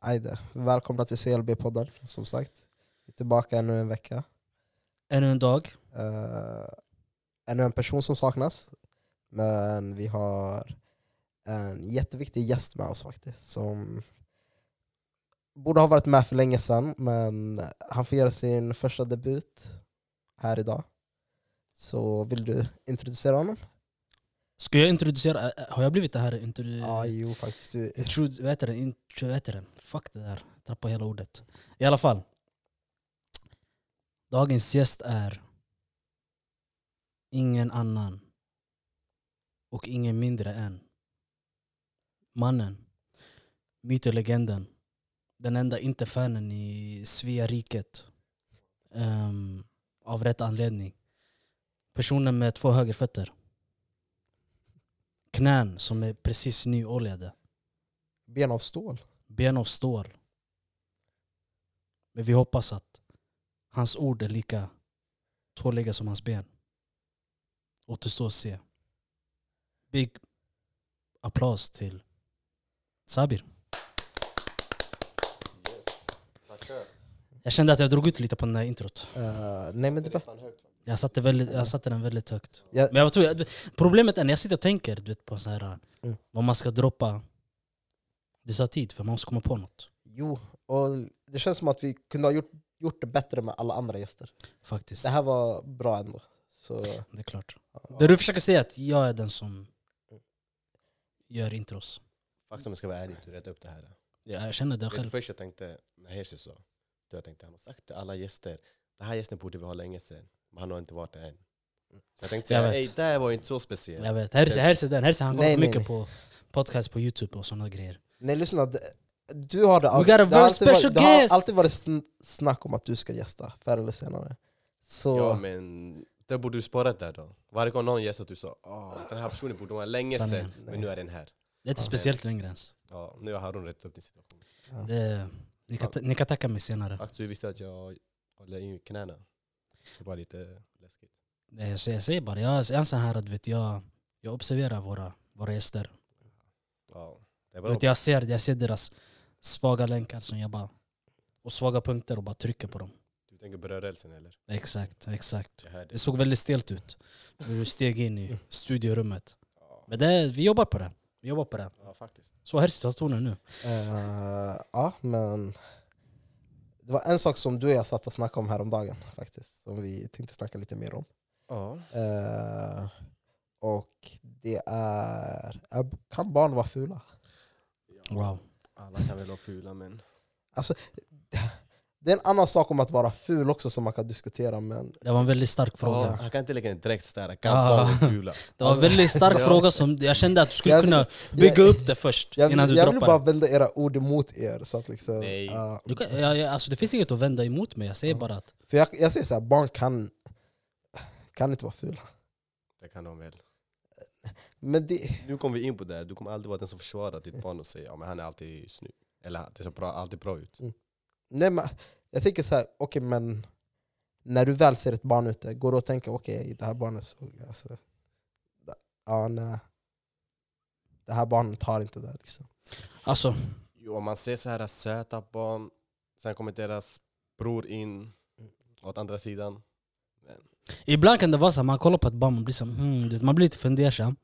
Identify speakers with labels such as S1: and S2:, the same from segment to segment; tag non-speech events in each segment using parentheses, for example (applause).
S1: Ajde. Välkomna till CLB-podden, som sagt. Vi är tillbaka ännu en vecka.
S2: Ännu en dag.
S1: Uh, ännu en person som saknas, men vi har en jätteviktig gäst med oss faktiskt, som borde ha varit med för länge sedan, men han får göra sin första debut här idag. Så vill du introducera honom?
S2: Ska jag introducera? Ä- ä- Har jag blivit det här? Introdu-
S1: Ja, jo faktiskt. Du,
S2: Intro- vad heter det? Intro- vad heter det? Fuck det där. Jag tappade hela ordet. I alla fall. Dagens gäst är ingen annan och ingen mindre än mannen, mytolegenden, den enda inte fanen i Svea riket Ehm, av rätt anledning. Personen med två högerfötter. Knän som är precis nyoljade.
S1: ben av stål.
S2: Ben av stål. Men vi hoppas att hans ord är lika tåliga som hans ben. Återstår att se. Big applås till Sabir.
S3: Tackar.
S2: Jag kände att jag drog ut lite på den här introt.
S1: Eh, nej men det är bra.
S3: Ribban högt.
S2: Jag satte, väldigt, jag satte den väldigt högt.
S1: Ja.
S2: Men jag tror, jag- problemet är när jag sitter och tänker du vet, på så här,
S1: Mm.
S2: vad man ska droppa. Det tar tid för man måste komma på något.
S1: Jo, och det känns som att vi kunde ha gjort, gjort det bättre med alla andra gäster.
S2: Faktiskt.
S1: Det här var bra ändå. Så,
S2: Det är klart.
S1: Ja.
S2: Det du försöker säga är att jag är den som gör intros.
S3: Faktum jag ska vara ärlig, du räddade upp det här.
S2: Ja, jag känner det
S3: Vet du,
S2: själv.
S3: först jag tänkte, när Hershey sa, då jag tänkte han har sagt till alla gäster, den här gästen borde vi ha länge sedan, men han har inte varit där än. Så jag tänkte säga,
S2: Jag vet.
S3: ey det här var ju inte så speciellt.
S2: Jag vet. Herse, herse den. Herse, han kollar
S1: Nej,
S2: för
S1: nej,
S2: mycket
S1: nej.
S2: på podcast på youtube och sådana grejer.
S1: nej lyssna, d- du har det, all-
S2: We got
S1: det
S2: a
S1: har
S2: very
S1: alltid varit,
S2: special
S1: det har
S2: guest!
S1: alltid varit sn- snack om att du ska gästa förr eller senare. Så,
S3: Ja men, då borde du spara det där då. Varje gång någon gäst att du sa, "Ah, den här personen borde vara länge sedan,
S2: Sanningen.
S1: Nej.
S3: men nu är den här.
S2: Det är inte
S1: Ja.
S2: speciellt längre ens.
S3: Ja, nu har Harun rätt upp din situation.
S2: Det är, ni, kan, ta- ni kan tacka mig senare.
S3: Faktum vi visste att jag håller i knäna. Det var lite läskigt.
S2: Nej, Jag säger, jag säger bara, jag är en sån här att vet, jag, jag observerar våra, våra gäster.
S3: Ja, det var
S2: Vet, jag, ser, jag ser deras svaga länkar som jag bara, och svaga punkter och bara trycker på dem.
S3: Du tänker berörelsen eller?
S2: Exakt, exakt.
S3: Jag hör
S2: Det
S3: det.
S2: såg väldigt stelt ut när du steg in i studiorummet.
S3: Ja,
S2: Men det, vi jobbar på det. Vi jobbar på det.
S3: ja faktiskt.
S2: Så här är situationen nu.
S1: eh, ja, men det var en sak som du och jag satt och snackade om häromdagen faktiskt, som vi tänkte snacka lite mer om.
S3: Ja.
S1: Eh, och det är, eh, kan barn vara fula?
S2: Wow.
S3: Alla kan väl vara fula men...
S1: Det är en annan sak om att vara ful också som man kan diskutera, men
S2: Det var en väldigt stark fråga.
S3: Ja, han kan inte lägga en direkt stark
S2: Ja.
S3: kamp om fula.
S2: Det var en väldigt
S1: (laughs)
S2: stark
S3: Ja.
S2: fråga som jag kände att du skulle
S1: Jag-
S2: kunna
S1: jag-
S2: bygga upp det först
S1: jag,
S2: innan
S1: vill-
S2: du
S1: jag vill
S2: droppar
S1: bara
S2: det.
S1: vända era ord emot er. Så att liksom,
S3: Nej.
S1: eh,
S2: Du kan, ja, ja, alltså det finns inget att vända emot mig. Jag säger
S1: Ja.
S2: bara att
S1: för jag, jag säger så här, barn kan, kan inte vara fula.
S3: Det kan de väl.
S1: Men det,
S3: Nu kommer vi in på det, här. du kommer alltid vara den som försvarar ditt barn och säger ja, men han är alltid snygg. Eller han- det ser bra, alltid bra ut.
S1: nej, men, jag tänker så här, okej men när du väl ser ett barn ute, går du och tänker okej det här barnet såg... Alltså, ja, nej. Det här barnet har inte det. Liksom.
S2: alltså,
S3: Jo, om man ser så här söta barn, sen kommer deras bror in åt andra sidan.
S2: ibland kan det vara så att man kollar på ett barn och blir, som, hmm, du vet, man blir lite fundersam.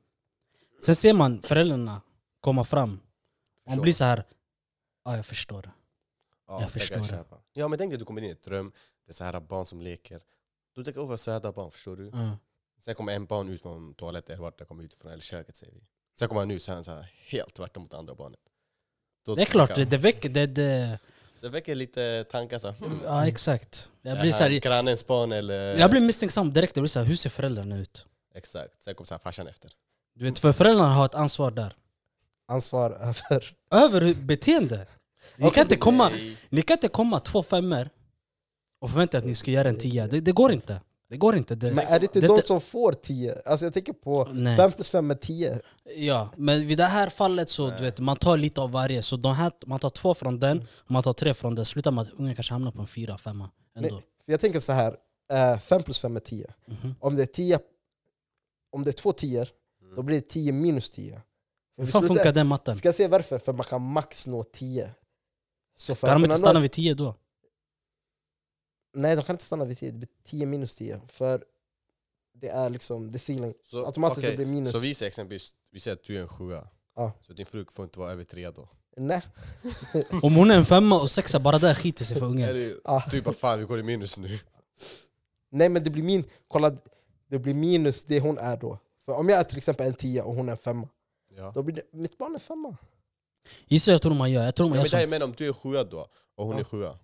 S2: Sen ser man föräldrarna komma fram. Man
S3: Förstår.
S2: blir så här, ja jag förstår.
S3: Ja,
S2: jag
S3: det kan
S2: förstår det.
S3: köpa. Ja, men tänk dig att du kommer in i ett rum, det är så här barn som leker. Du tänker åh vad söta barn, förstår du?
S2: Mm.
S3: Sen kommer en barn ut från toaletten, eller vart det kommer ut från, eller köket säger vi. Sen kommer han ut, så är han så här, helt tvärtom mot andra barnet. Då
S2: Det är klart,
S3: tänker
S2: det,
S3: jag-
S2: det väcker... Det, det,
S3: Det väcker lite tankar så. här, hmm.
S2: ja exakt. Jag
S3: Är
S2: blir, så
S3: han
S2: här,
S3: grannens barn eller...
S2: jag blir misstänksam direkt. Jag blir så här, hur ser föräldrarna ut?
S3: Exakt, sen kom så här farsan efter.
S2: Du vet, för föräldrarna har ett ansvar där.
S1: Ansvar över
S2: Över hur- beteende. Ni kan, inte komma,
S3: Nej.
S2: ni kan inte komma två femmer och förvänta att ni ska göra en tia. Det, det går inte. Det går inte. Det,
S1: Men är det inte
S2: det-
S1: de
S2: det-
S1: som får 10? Alltså jag tänker på
S2: Nej.
S1: 5 plus 5 är 10.
S2: ja, men vid det här fallet så du vet, man tar lite av varje. Så de här, man tar två från den, och man tar tre från den. Slutar med att ungen kanske hamnar på en fyra, femma. Ändå.
S1: Nej, För jag tänker så här, eh, 5 plus 5 är 10.
S2: Mhm.
S1: Om det är, 10, om det är två 10 då blir det 10 minus 10.
S2: Hur fan Mm. funkar den matten?
S1: Ska jag se varför? För man kan max nå 10. Så för att
S2: Kan de
S1: kunna
S2: inte
S1: nå-
S2: stanna vid 10 då?
S1: Nej, de kan inte stanna vid 10. Det blir 10 minus 10. För det är liksom, det är ceiling.
S3: Så,
S1: Automatiskt så
S3: okej,
S1: blir det minus.
S3: Så vi säger exempelvis, vi säger att du är en sjua.
S1: Ja.
S3: Så din fru får inte vara över tre då.
S1: Nej.
S2: Om hon är en femma och sexa, bara där skiter sig för
S1: (laughs)
S2: ungen.
S3: Eller
S1: Ja.
S3: du bara fan vi går i minus nu.
S1: Nej men det blir min, kolla, det blir minus det hon är då. För om jag är till exempel en 10 och hon är en femma,
S3: Ja.
S1: då blir det, mitt barn är femma.
S2: Gissa jag tror man gör. Jag tror
S3: Ja,
S2: man
S3: men
S2: gör
S3: det här
S2: så.
S3: jag menar, om du är sjua då, och hon
S1: Ja.
S3: är sjua,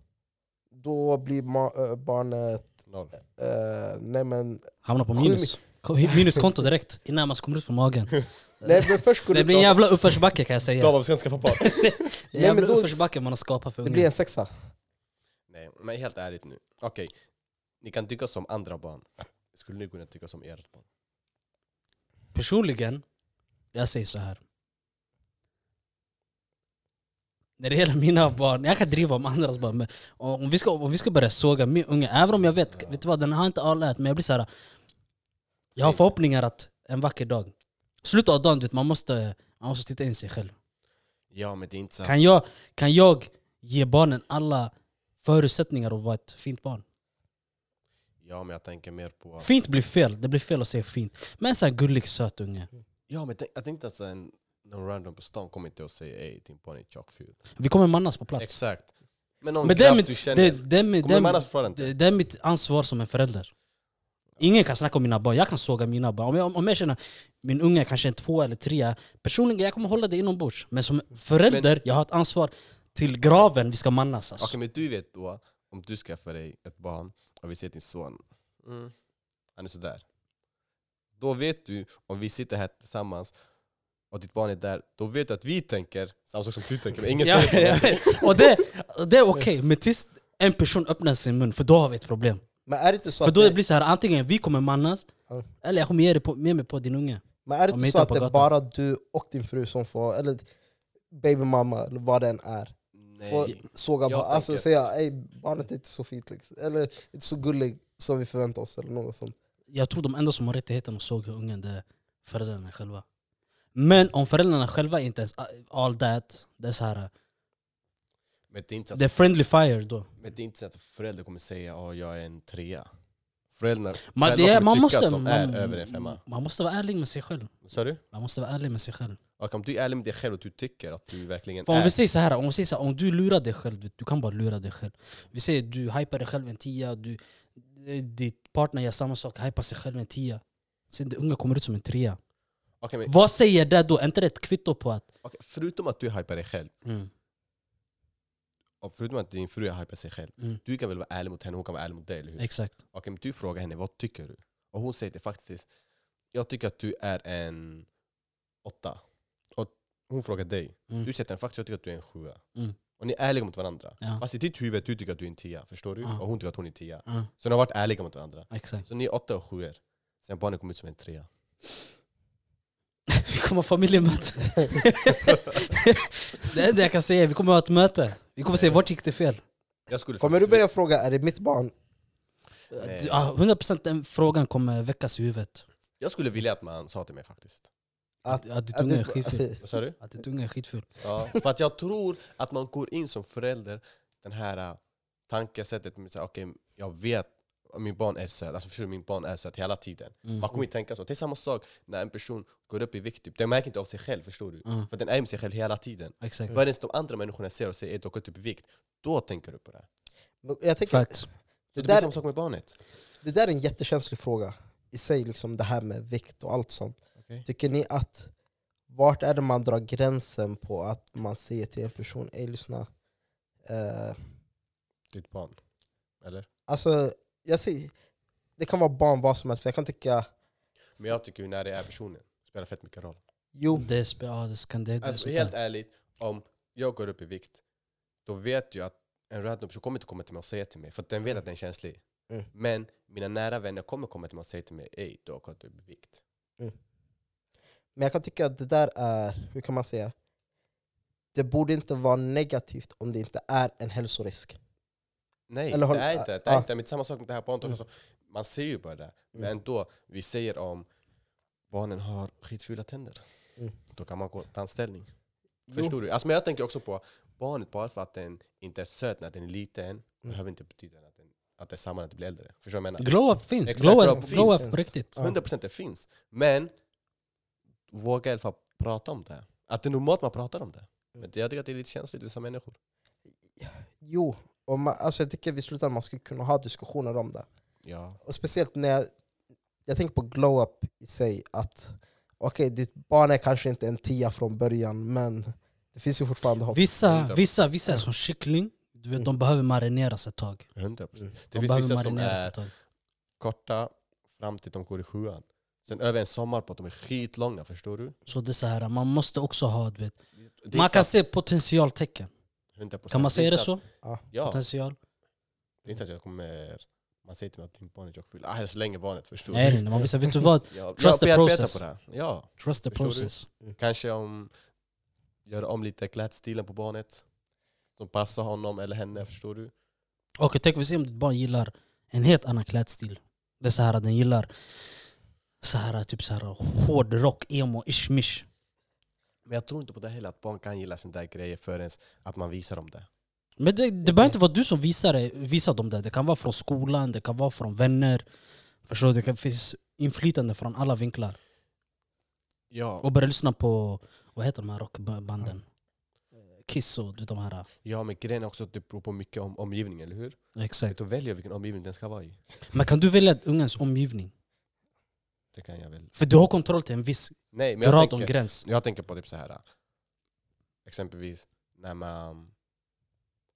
S1: Då blir ma- äh, barnet,
S3: noll.
S1: eh, nej
S2: (laughs)
S1: men,
S2: Hamnar på
S1: Sju
S2: minus. Minuskonto direkt, innan man kommer ut från magen.
S1: nej men först skulle
S2: Det blir en jävla uppförsbacke kan jag säga.
S3: David ska
S2: (laughs)
S3: skaffa barn.
S2: En
S1: Nej, men
S2: jävla
S1: då-
S2: uppförsbacke man har skapat för
S1: det blir
S2: ungen.
S1: en sexa.
S3: Nej, men helt ärligt nu. Okej, ni kan tycka som andra barn. Skulle ni kunna tycka som ert barn?
S2: Personligen, jag säger så här. När det gäller mina barn, jag kan driva om andras barn men om vi ska, om vi ska börja såga min unge, även om jag vet,
S3: Ja.
S2: vet du vad, den har inte avlärt men jag blir så här. Jag har
S3: Säg.
S2: förhoppningar att en vacker dag, slutet av dagen du vet, man måste, man måste titta in sig själv.
S3: Ja, men det är inte sant.
S2: Kan jag, kan jag ge barnen alla förutsättningar att vara ett fint barn?
S3: Ja, men jag tänker mer på...
S2: Fint blir fel, det blir fel att säga fint. Men en sån här gullig söt unge.
S3: Ja, men tänk- jag tänkte att så en, någon random på stan kommer inte och säger ey, din barn är tjockful.
S2: Vi kommer mannas på plats.
S3: Exakt. Men någon
S2: Men det är
S3: grabb
S2: mitt-
S3: du känner,
S2: Det, det, är mi- det,
S3: kommer
S2: är
S3: man
S2: mi-
S3: annars fråga inte?
S2: det, det är mitt ansvar som en förälder. Ingen kan snacka om mina barn, jag kan såga mina barn. Om jag, om jag känner min unge är kanske en två eller trea, personligen jag kommer hålla det inombords. Men som förälder, jag har ett ansvar till graven vi ska mannas. Alltså.
S3: Okej, men du vet då, om du skaffar dig ett barn och vi ser din son, mm, han är sådär. Då vet du, om vi sitter här tillsammans och ditt barn är där, då vet du att vi tänker samma sak som du tänker, men
S2: (laughs)
S3: ingen
S2: Ja,
S3: säger
S2: jag
S3: det.
S2: vet. Och det, det är okej, men tills en person öppnar sin mun, för då har vi ett problem.
S1: Men är det inte så
S2: För
S1: att,
S2: då det
S1: det,
S2: blir så här, antingen vi kommer mannas,
S1: Ja.
S2: eller jag kommer ge dig på, med mig på din unge.
S1: men är det,
S2: om
S1: inte
S2: jag
S1: så
S2: hittar
S1: att
S2: på
S1: det är bara
S2: gatan?
S1: du och din fru som får, eller babymamma eller vad den är, får
S3: Nej.
S1: såga
S3: Jag
S1: barn, alltså
S3: tänker-
S1: säga ey barnet är inte så fint liksom. eller inte så gullig som vi förväntar oss eller något sånt.
S2: Jag tror de enda som har rättigheten att såga ungen, det är föräldrarna själva. Men om föräldrarna själva inte ens uh, all that, det är så här, uh,
S3: Men det är inte så
S2: det är
S3: att,
S2: friendly fire då.
S3: men det är inte så att föräldrar kommer säga att jag är en trea. Föräldrar
S2: Man,
S3: själva
S2: det är,
S3: kommer
S2: man,
S3: tycka
S2: måste,
S3: att de är över en
S2: man,
S3: femma.
S2: man måste vara ärlig med sig själv.
S3: Sa du?
S2: Man måste vara ärlig med sig själv.
S3: Och om du är ärlig med dig själv och du tycker att du verkligen
S2: För om vi
S3: är...
S2: säger så här, om, vi säger så här, om du lurar dig själv, du- du kan bara lura dig själv. Vi säger du hypar dig själv en tia, du, eh, ditt partner gör samma sak, hypar sig själv en tia. Sen det unga kommer ut som en trea.
S3: Okej, men,
S2: Vad säger det då? Är inte det ett kvitto på att...
S3: okej, förutom att du hypar dig själv,
S2: Mm.
S3: och förutom att din fru hypar sig själv,
S2: Mm.
S3: du kan väl vara ärlig mot henne, hon kan vara ärlig mot dig, eller hur?
S2: Exakt.
S3: Okej, men du frågar henne vad tycker du? Och hon säger det faktiskt. Jag tycker att du är en åtta. Och hon frågar dig.
S2: Mm.
S3: Du säger till henne faktiskt jag tycker att du är en sjua.
S2: Mm.
S3: Och ni är ärliga mot varandra.
S2: Ja.
S3: Fast i ditt huvud du tycker att du är en tia. Förstår du?
S2: Ja.
S3: Och hon tycker att hon är en tia.
S2: Ja,
S3: Så ni har varit ärliga mot varandra.
S2: exakt.
S3: Så ni är åtta och sjuor. Sen barnet kommer ut som en trea.
S2: Vi kommer ha familjemöte. det enda jag kan säga är vi kommer ha ett möte. Vi kommer säga vart gick det fel?
S3: Jag skulle
S1: Kommer du
S3: faktiskt-
S1: börja fråga, är det mitt barn?
S3: Nej.
S2: Du- ah, 100% den frågan kommer väckas i huvudet.
S3: Jag skulle vilja att man sa till mig faktiskt.
S2: Att, att ditt unge
S1: (laughs)
S2: är skitful.
S3: Vad sa du?
S2: Att ditt unge är skitful.
S3: Ja, för att jag tror att man går in som förälder den här äh, tankesättet med att okej, jag vet att min barn är söt, alltså förstår du, min barn är söt hela tiden.
S2: Mm.
S3: Man kommer inte tänka så. Det är samma sak när en person går upp i vikt, typ. den märker inte av sig själv, förstår du?
S2: Ja,
S3: För den är med sig själv hela tiden.
S2: exakt.
S3: Förrän de andra människorna ser och säger att du har gått upp i vikt, då tänker du på det.
S1: Men Jag tänker,
S2: Facts.
S3: Så det,
S1: Det
S3: blir
S1: där-
S3: samma sak med barnet.
S1: det där är en jättekänslig fråga i sig, liksom det här med vikt och allt sånt.
S3: Okej.
S1: Tycker ni att, vart är det man drar gränsen på att man säger till en person, ey lyssna, eh,
S3: Ditt barn. Eller?
S1: alltså jag säger, det kan vara barn vad som helst, för jag kan tycka,
S3: Men jag tycker ju när det är personen, spelar fett mycket roll.
S1: jo,
S2: Det, spe- ja, det, kan, det, det, är
S3: Alltså
S2: sånt
S3: helt
S2: där.
S3: ärligt, om jag går upp i vikt, då vet jag att en random person kommer inte komma till mig och säga till mig, för att den vet att den är känslig.
S1: Mm.
S3: Men mina nära vänner kommer komma till mig och säga till mig, ey du har gått upp i vikt.
S1: mm. men jag kan tycka att det där är, hur kan man säga, det borde inte vara negativt om det inte är en hälsorisk.
S3: Nej,
S1: Eller håll-
S3: det är inte det. Är
S1: ah.
S3: inte. Men samma sak med det här barnet också. Man ser ju bara det. Men
S1: Mm.
S3: ändå, vi säger om barnen har skitfula tänder.
S1: Mm.
S3: Då kan man gå tandställning.
S1: Jo.
S3: Förstår du? Alltså, men jag tänker också på barnet bara för att den inte är söt när den är
S1: Mm.
S3: liten behöver inte betyda att den, att det är samma när den blir äldre. Förstår du vad jag menar?
S2: Glow-up finns.
S3: Exakt,
S2: Glow-up
S3: glow-up
S2: glow glow
S1: finns.
S2: på riktigt.
S1: Ja.
S3: 100% det finns. Men våga i alla fall prata om det. Att det är normalt man pratar om
S1: Mm.
S3: det. Men jag tycker att det är lite känsligt vissa människor.
S1: Jo, och man, alltså jag tycker vid slutändan man skulle kunna ha diskussioner om det.
S3: Ja.
S1: Och speciellt när jag, jag tänker på glow-up i sig, att okej, ditt barn är kanske inte en tia från början, men det finns ju fortfarande hopp.
S2: Vissa,
S3: Inte.
S2: vissa, vissa är som kyckling. Du vet, de behöver marineras ett tag.
S3: 100%.
S1: Mm.
S3: Det
S2: De
S3: finns
S2: behöver
S3: vissa som
S2: marineras
S3: är
S2: ett tag.
S3: korta fram till de går i sjuan. Sen över en sommar på att de är skitlånga, förstår du?
S2: Så det är så här, man måste också ha... Du vet,
S3: Det är
S2: man
S3: inte
S2: kan
S3: så
S2: se potentialtecken.
S3: att- 100%.
S2: Kan man säga det
S3: är inte
S2: så?
S3: att- Ja.
S2: Potential?
S3: Det är inte så att jag kommer... Man säger till mig att din barn är tjockfull. Ah, jag slänger barnet, förstår
S2: Nej,
S3: du?
S2: nej, nej. Man visar, vet du vad?
S3: Ja,
S2: Trust
S3: jag
S2: the
S3: bearbetar
S2: process.
S3: på det. här. Ja.
S2: Trust the
S3: Förstår du?
S2: process.
S3: Kanske om göra om lite klädstilen på barnet. Som passar honom eller henne, förstår du?
S2: Okej, tänk vi ser om ditt barn gillar en helt annan klädstil. Det är så här att den gillar så här, typ så här, hård rock, emo, ishmish.
S3: Men jag tror inte på det heller, att barn kan gilla sådana där grejer förrän att man visar dem det.
S2: Men det, det behöver inte vara du som visar, det- visar dem det. Det kan vara från skolan, det kan vara från vänner. Förstår du? Det kan finnas inflytande från alla vinklar.
S3: Ja,
S2: Och börja lyssna på, vad heter de här rockbanden? Kiss och du vet de här.
S3: ja men grejen är också att det beror på mycket om omgivningen, eller hur?
S2: Exakt.
S3: Då väljer jag vilken omgivning den ska vara i.
S2: Men kan du välja ungens omgivning?
S3: Det kan jag väl.
S2: För du har kontroll till en viss
S3: Nej, men jag
S2: grad om
S3: tänker,
S2: gräns.
S3: jag tänker på typ så här. Exempelvis när man...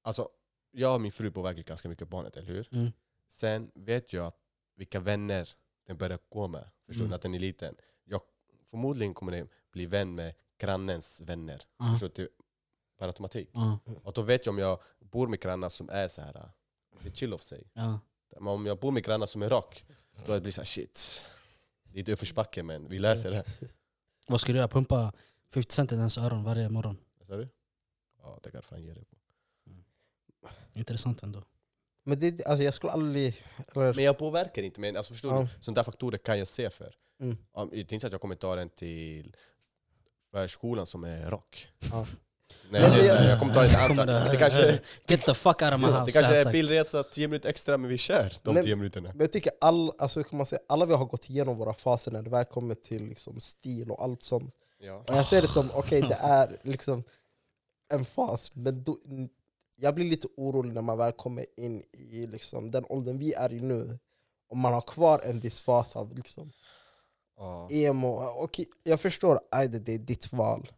S3: Alltså, jag och min fru påverkar ganska mycket barnet, eller hur?
S2: Mm.
S3: Sen vet jag att vilka vänner den börjar gå med. Förstår
S2: Mm.
S3: du? Att den är liten. Jag, förmodligen kommer den bli vän med grannens vänner.
S2: Ja,
S3: Förstår du? Typ, Per automatik.
S2: ja,
S3: Och då vet jag om jag bor med grannar som är så här, äh, det chill av sig.
S2: ja.
S3: Men om jag bor med grannar som är rock, då blir det så här shit. Lite uppförsbacke men vi löser det.
S2: Vad skulle du göra? Pumpa 50 cent i dens öron varje morgon?
S3: Vad sa du? Ja, det kan jag fan ge dig på.
S2: Intressant ändå.
S1: Men det, alltså jag skulle aldrig... Eller,
S3: Men jag påverkar inte, men alltså förstår
S1: Ja.
S3: du? Sådana där faktorer kan jag se för.
S1: Mm.
S3: Om, det är inte så att jag kommer ta den till förskolan som är rock.
S1: Ja.
S3: Nej,
S1: Men
S3: jag, ser-
S1: jag-
S3: jag kommer ta den till andra. Det kanske,
S2: Get the fuck out of my house.
S3: det kanske är
S2: exakt.
S3: bilresa 10 minuter extra, men vi kör de
S1: Nej.
S3: 10 minuterna.
S1: men jag tycker all, alltså hur kan man säga, alla vi har gått igenom våra faser när det väl kommer till liksom stil och allt sånt.
S3: Ja.
S1: Och jag ser det som, okej det är liksom en fas, men då, jag blir lite orolig när man väl kommer in i liksom, den åldern vi är i nu. Om man har kvar en viss fas av liksom,
S3: Ja.
S1: emo. Okej, jag förstår, aj, det, det är ditt val.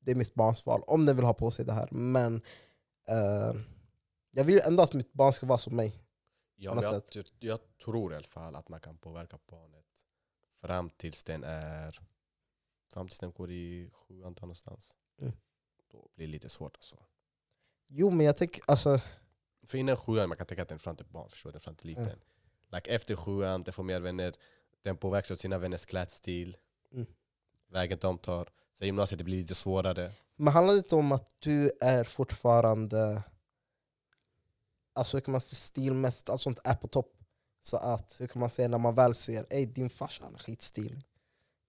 S1: Det är mitt barns val, om den vill ha på sig det här. Men eh, jag vill ändå att mitt barn ska vara som mig.
S3: Ja,
S1: på
S3: men
S1: något
S3: jag, jag, jag tror i alla fall att man kan påverka barnet fram tills den är fram tills den går i sjuan där någonstans.
S1: Mm.
S3: Då blir det lite svårt alltså.
S1: Jo, men jag tänker, alltså,
S3: För innan sjuan, man kan tänka att den är fram till barn, förstår du? Den är fram till liten.
S1: Mm.
S3: Like, efter sjuan, den får mer vänner, den påverkas av sina vänners klädstil,
S1: Mm.
S3: vägen de tar. Sen gymnasiet det blir lite svårare.
S1: men handlar det inte om att du är fortfarande, alltså hur kan man säga, stilmässigt, allt sånt är på topp. Så att, hur kan man säga, när man väl ser, ej din farsa han är skitstil.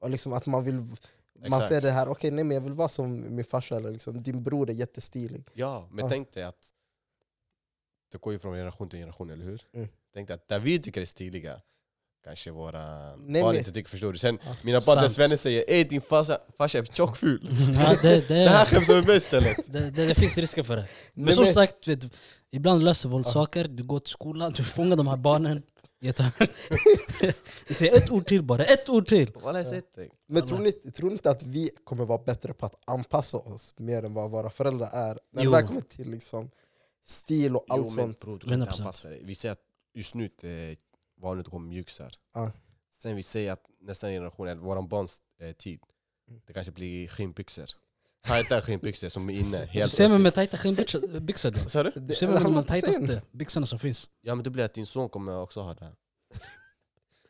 S1: Och liksom att man vill, man
S3: Exakt.
S1: ser det här, okej nej men jag vill vara som min farsa, eller liksom, din bror är jättestilig.
S3: Ja, men
S1: Ja.
S3: tänk dig att det går ju från generation till generation, eller hur?
S1: Mm.
S3: Tänk dig att där vi tycker är stiliga, kanske våra
S1: Nej,
S3: barn
S1: men-
S3: inte tycker, förstår du? Sen
S1: Ja.
S3: mina barns
S2: Sant.
S3: vänner säger ey din farsa, farsa är tjockful.
S2: (laughs) Ja, det,
S3: Det här
S2: det,
S3: skämtar vi med
S1: (laughs)
S3: istället.
S2: det, det, det finns risker för det. Men
S1: Nej,
S2: som
S1: men-
S2: sagt, vet, du, ibland löser våld saker. Du går till skolan, du fångar de här barnen. Jag tar- (laughs) Jag säger ett ord till bara, ett ord till!
S3: Vad har jag sett dig?
S1: Men tror ni, tror ni inte att vi kommer vara bättre på att anpassa oss mer än vad våra föräldrar är? När
S2: Jo.
S1: det väl kommer till liksom, stil och allt
S3: Jo men
S1: sånt.
S3: bror, du kan inte
S2: 100%.
S3: anpassa dig. Vi säger att just nu det är vanligt att gå med mjukisar.
S1: Ja.
S3: Sen vi säger att nästa generation, eller våran barns eh, tid,
S1: Mm.
S3: det kanske blir skinnbyxor. Tajta skinnbyxor som är inne.
S2: Du
S3: helt
S2: ser mig
S3: plötsligt.
S2: med tajta skinnbyxor byxor då.
S3: Sa du?
S2: Du
S1: Det-
S2: ser mig med de
S1: han- (laughs) sen-
S2: tajtaste byxorna som finns.
S3: Ja men då blir det att din son kommer också ha det.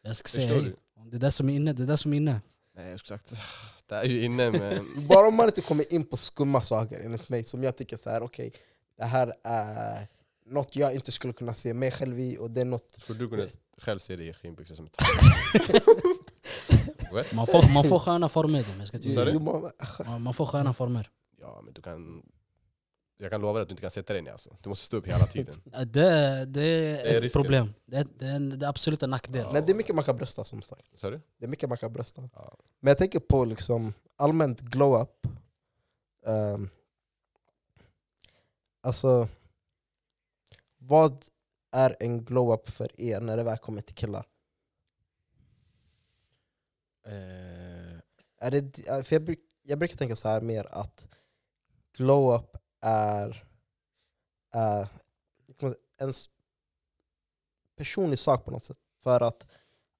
S2: Jag ska
S3: Förstår
S2: säga hej.
S3: du?
S2: Om Det är det som är inne, det är det som är inne.
S3: Nej jag skulle sagt, (sighs) det är ju inne men...
S1: Bara om man inte kommer in på skumma saker enligt mig, som jag tycker så här, okej, det här är något jag inte skulle kunna se mig själv i och det är något...
S3: (laughs) Skulle du kunna själv se dig i skinnbyxor som ett What?
S2: Man får, man får sköna former. då, men Jag ska inte
S3: Vad sa
S2: ljuga.
S3: du?
S1: Jo, man-
S2: man, man får sköna former.
S3: Ja men du kan jag kan lova dig att du inte kan sätta dig ner alltså. Du måste stå upp hela (laughs) tiden.
S2: Ja, Det, det
S3: är
S2: är ett
S3: risken.
S2: problem. Det är, det är, en, det är absolut en nackdel.
S3: Ja.
S1: Men det är mycket man kan brösta som sagt.
S3: Sa du?
S1: Det är mycket man kan brösta.
S3: Ja.
S1: Men jag tänker på liksom allmänt glow-up. Um, alltså, vad är en glow-up för er när det väl kommer till killar?
S3: Eh,
S1: Är det, för jag, bruk, jag brukar tänka så här mer att glow-up är, är en s- personlig sak på något sätt. För att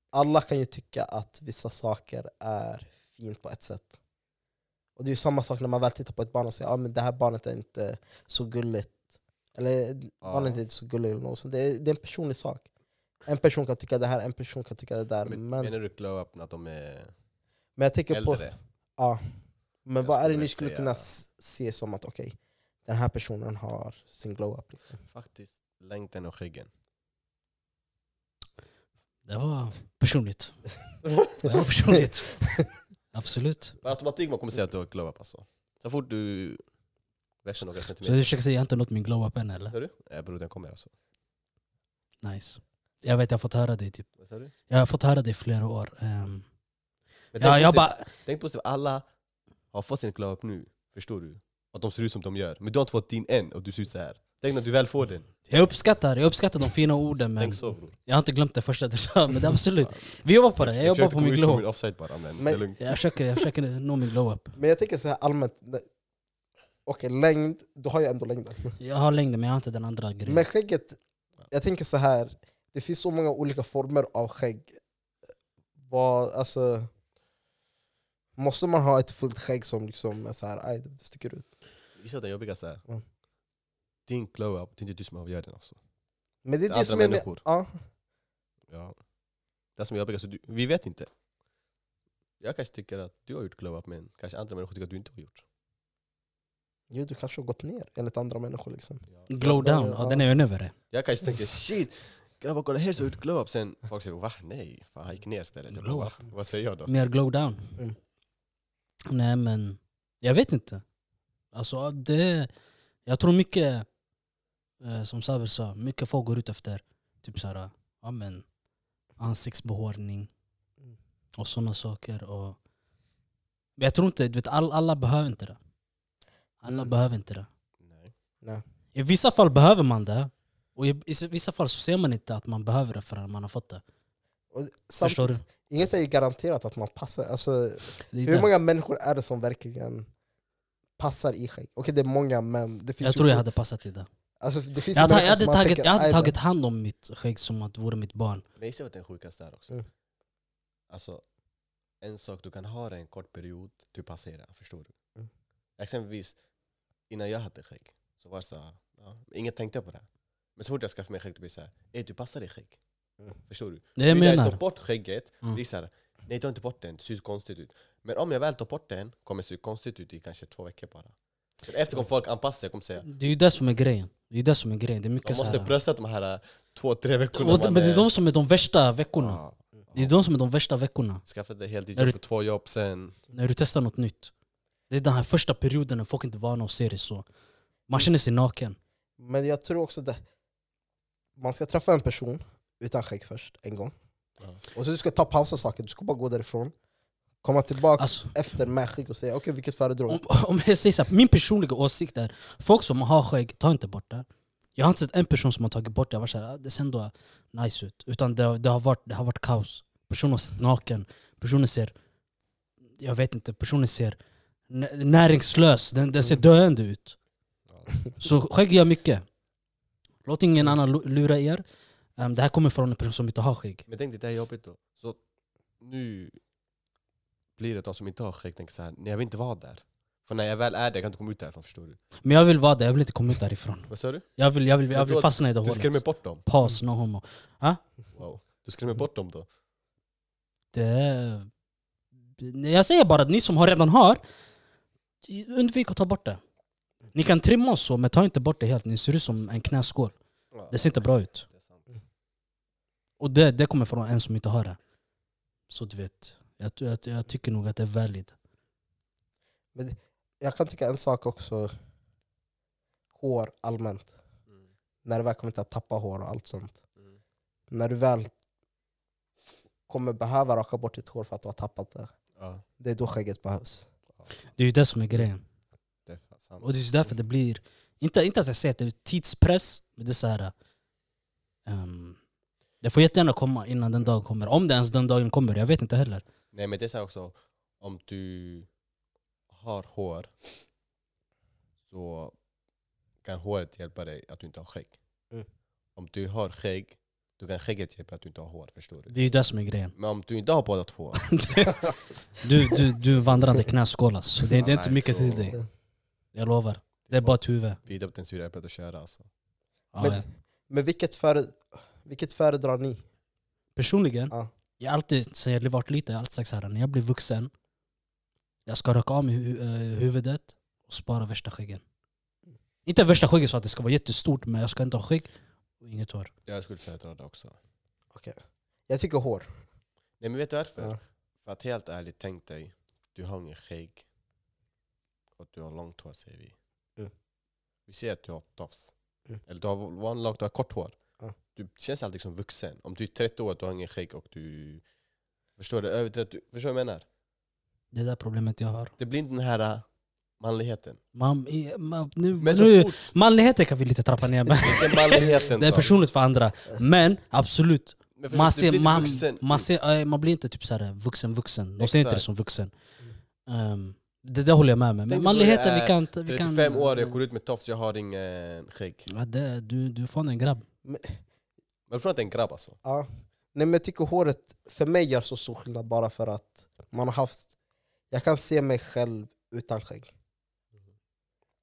S1: alla kan ju tycka att vissa saker är fint på ett sätt. Och det är ju samma sak när man väl tittar på ett barn och säger att ah, men det här barnet är inte så gulligt. Eller
S3: Ja.
S1: barnet är inte så gulligt eller något sånt. Det är, det är en personlig sak. En person kan tycka det här, en person kan tycka det där. Men,
S3: Men,
S1: men,
S3: menar du glow-up att de är
S1: jag tänker på...
S3: äldre?
S1: Men
S3: Jag
S1: vad är det
S3: skulle
S1: ni
S3: väl
S1: skulle
S3: säga-
S1: kunna s- se som att okej, den här personen har sin glow-up? Liksom.
S3: Faktiskt. Längden och skäggen.
S2: Det var personligt. Det var (laughs) personligt. absolut.
S3: Per automatik man kommer säga att du har glow-up alltså. Så fort du... Versen några
S2: Så
S3: centimeter.
S2: du försöker säga jag har inte nått min glow-up än eller?
S3: Hör du? Nej bror den kommer alltså.
S2: Nice. Jag vet, jag har fått höra det typ.
S3: Vad sa du?
S2: Jag har fått höra det i flera år. Ehm, ja,
S3: Men tänk
S2: jag
S3: positivt-
S2: bara,
S3: Tänk positivt, alla har fått sin glow-up nu. Förstår du? Att de ser ut som de gör. Men du har inte fått din än och du ser ut så här. Tänk när du väl får den.
S2: jag uppskattar, jag uppskattar de fina orden men
S3: Tänk så bror.
S2: jag har inte glömt det första du sa. Men det är absolut, vi jobbar på det. Jag jobbar
S3: försökte
S2: på
S3: komma
S2: min
S3: ut från
S2: glow-up.
S3: min offside bara men,
S1: Men-
S3: det är lugnt.
S2: Jag försöker, jag försöker nå min glow-up.
S1: (laughs) Men jag tänker så här allmänt, ne- okej längd, då har jag ändå längden.
S2: Jag har längden men jag har inte den andra grejen.
S1: Men skägget, jag tänker så här det finns så många olika former av skägg. Vad, alltså, måste man ha ett fullt skägg som liksom är så här, aj, det sticker ut?
S3: Gissa den jobbigaste är.
S1: Mm.
S3: Din glow-up, det är inte du som avgör den alltså.
S1: Men det är
S3: Det
S1: det,
S3: är
S1: som
S3: andra
S1: är med,
S3: människor.
S1: ja,
S3: Ja. Det som är jobbigast, du, vi vet inte. Jag kanske tycker att du har gjort glow-up men kanske andra människor tycker att du inte har gjort.
S1: jo, du kanske har gått ner enligt andra människor. Liksom.
S3: Ja.
S2: Glow down, ja, den är över.
S3: Jag
S2: (laughs)
S3: kanske tänker shit, grabbar kolla här så har jag gjort glow-up sen folk säger va? Nej, fan han gick ner istället. Jag bara,
S2: Glow-up.
S3: "Va? Vad säger jag då?
S2: Mer glow down.
S1: Mm.
S2: Nej men, jag vet inte. Alltså det, jag tror mycket, eh, som Saber sa, mycket folk går ut efter typ såhär, ja men ansiktsbehårning
S1: Mm.
S2: och sådana saker. Och, men jag tror inte, du vet all, alla behöver inte det. Alla
S1: Mm.
S2: behöver inte det.
S3: Nej.
S2: I vissa fall behöver man det, och i, i vissa fall så ser man inte att man behöver det förrän man har fått det.
S1: Och
S2: Förstår
S1: samtidigt-
S2: du?
S1: Inget är ju garanterat att man passar. Alltså,
S2: Det är
S1: Hur
S2: det.
S1: många människor är det som verkligen passar i skägg? Okej det är många men det finns
S2: jag
S1: ju
S2: tror jag
S1: fort-
S2: hade passat i det.
S1: alltså, det finns
S2: Jag
S1: ju människor
S2: hade, jag
S1: som
S2: hade,
S1: man
S2: tagit,
S1: tänker,
S2: jag hade
S1: "Aj då."
S2: tagit hand om mitt skägg som att det vore mitt barn.
S3: Men gissa vad den sjukaste är också.
S1: Mm.
S3: Alltså, en sak, du kan ha det en kort period, du passerar, förstår du?
S1: Mm.
S3: Exempelvis, innan jag hade skägg, så var det så här, ja, ingen tänkte på det. Men så fort jag skaffade mig skägg, det blir såhär, ey du passar i skägg.
S1: Mm.
S3: Förstår du?
S2: Det jag
S3: Vill jag
S2: menar.
S3: tar bort skägget,
S2: Mm.
S3: det är såhär, nej ta inte bort den, det ser konstigt ut. Men om jag väl tar bort den, kommer det se konstigt ut i kanske två veckor bara. Men efter kommer folk anpassa sig, kommer säga,
S2: Det är ju det som är grejen. Det är ju det som är grejen. Det är
S3: man
S2: mycket
S3: måste
S2: så här-
S3: brösta de här äh, två, tre veckorna
S2: Och,
S3: man eh,
S2: men det är
S3: är-
S2: de som är de värsta veckorna.
S3: Ja.
S2: Det är de som är de värsta veckorna.
S3: Skaffade
S2: Är
S3: heltidsjobb
S2: du-
S3: på två jobb sen.
S2: När du testar något nytt. Det är den här första perioden när folk inte är vana att se det så. Man känner sig naken.
S1: Men jag tror också det. Man ska träffa en person utan skägg först, en gång.
S3: Ja.
S1: Och så du ska ta paus och saker, du ska bara gå därifrån. Komma tillbaka
S2: Alltså,
S1: efter med skägg och säga okej vilket föredrog?
S2: om, om jag säger så här, min personliga åsikt är, folk som har skägg, ta inte bort det. Jag har inte sett en person som har tagit bort det och varit såhär, "Ah, det ser ändå nice ut. Utan det, har- det, har varit, det har varit kaos. Personen har sett naken, personen ser, jag vet inte, personen ser nä- näringslös, den, den ser
S1: Mm.
S2: döende ut.
S3: Ja.
S2: Så skägg gör mycket. Låt ingen annan lu- lura er. Ehm, det här kommer från en person som inte har skägg.
S3: Men tänk dig, det här är jobbigt då. Så nu blir det de som inte har skägg tänker så här, nej jag vill inte vara där. För när jag väl är där, jag kan inte komma ut därifrån förstår du.
S2: Men jag vill vara där, jag vill inte komma ut därifrån.
S3: Vad sa du?
S2: Jag vill, jag vill, jag
S3: Men
S2: vill
S3: då-
S2: fastna i det
S3: Du skrämmer
S2: hålet.
S3: bort dem?
S2: Paus, no homo.
S3: Wow. Du skrämmer bort dem då?
S2: Det... Nej, Jag säger bara att ni som har redan har, undvik att ta bort det. Ni kan trimma oss så, men ta inte bort det helt. Ni ser ut som en knäskål. Det ser inte bra ut.
S3: Det är sant.
S2: Och det, det kommer från en som inte har det. Så du vet, jag, jag, jag tycker nog att det är valid.
S1: Jag kan tycka en sak också. hår allmänt.
S3: Mm.
S1: När du väl kommer till att tappa hår och allt sånt.
S3: Mm.
S1: När du väl kommer behöva raka bort ditt hår för att du har tappat det.
S3: Ja,
S1: Det är då skägget behövs.
S2: Det är ju det som är grejen.
S3: det är fan sant.
S2: Och det är så därför det blir, inte, inte att jag säger att det är tidspress, men det är så här. ehm, det får jättegärna komma innan den dagen kommer. Om det ens den dagen kommer, jag vet inte heller.
S3: Nej men det är så här också, om du har hår så kan håret hjälpa dig att du inte har skägg.
S1: Mm.
S3: Om du har skägg, då kan skägget hjälpa dig att du inte har hår, förstår du?
S2: Det är ju det som är grejen.
S3: Men om du inte har båda två,
S2: (laughs) Du, du, du är vandrande knäskål alltså. det, det är inte
S3: Nej,
S2: mycket
S3: så-
S2: till dig. Jag lovar. Det är bara ett huvud.
S3: bita upp den sura äpplet och köra alltså.
S2: Ja,
S1: Men-
S2: ja.
S1: Men vilket, före, vilket föredrar ni?
S2: Personligen,
S1: Ja.
S2: jag har alltid, sen jag varit liten, jag har alltid sagt såhär, när jag blir vuxen, jag ska raka av mig hu- eh, huvudet och spara värsta skäggen. Inte värsta skägget så att det ska vara jättestort, men jag ska inte ha skägg och inget hår.
S3: Jag skulle föredra det också.
S1: Jag tycker hår.
S3: Nej men vet du varför?
S1: Ja.
S3: För att helt ärligt, tänk dig, du har ingen skägg och du har långt hår säger vi.
S1: Mm.
S3: Vi ser att du har tofs.
S1: Mm.
S3: Eller du har vanligt långt, du har kort hår.
S1: Ja.
S3: Du känns alltid som vuxen. Om du är 30 år, du har ingen skägg och du... Förstår du? Över 30, förstår du vad jag menar?
S2: Det är det problemet jag har.
S3: Det blir inte den här äh, manligheten.
S2: Man, i- man, nu,
S3: Men
S2: nu,
S3: så fort,
S2: manligheten kan vi lite trappa ner,
S3: (laughs)
S2: men
S3: inte manligheten.
S2: Alltså, det är
S3: sa vi.
S2: personligt för andra. Men absolut,
S3: Men förstår
S2: man,
S3: du, du blir
S2: ser,
S3: inte
S2: man,
S3: typ vuxen.
S2: man, ser, eh, man blir inte typ såhär vuxen vuxen. De ser inte det
S3: Exakt.
S2: som vuxen. Ehm, det där håller jag med mig.
S3: Tänk dig
S2: Men
S3: då
S2: manligheten,
S3: jag
S2: vi
S3: är
S2: kan inte... vi kan-
S3: 35 år, jag går ut med tofs, jag har ingen skägg.
S2: Ja, det, du, du är fan en grabb.
S3: Men jag tror att det är en grabb alltså.
S1: Ja. Nej, men jag tycker håret för mig gör så stor skillnad bara för att man har haft... Jag kan se mig själv utan skägg.
S3: Mm.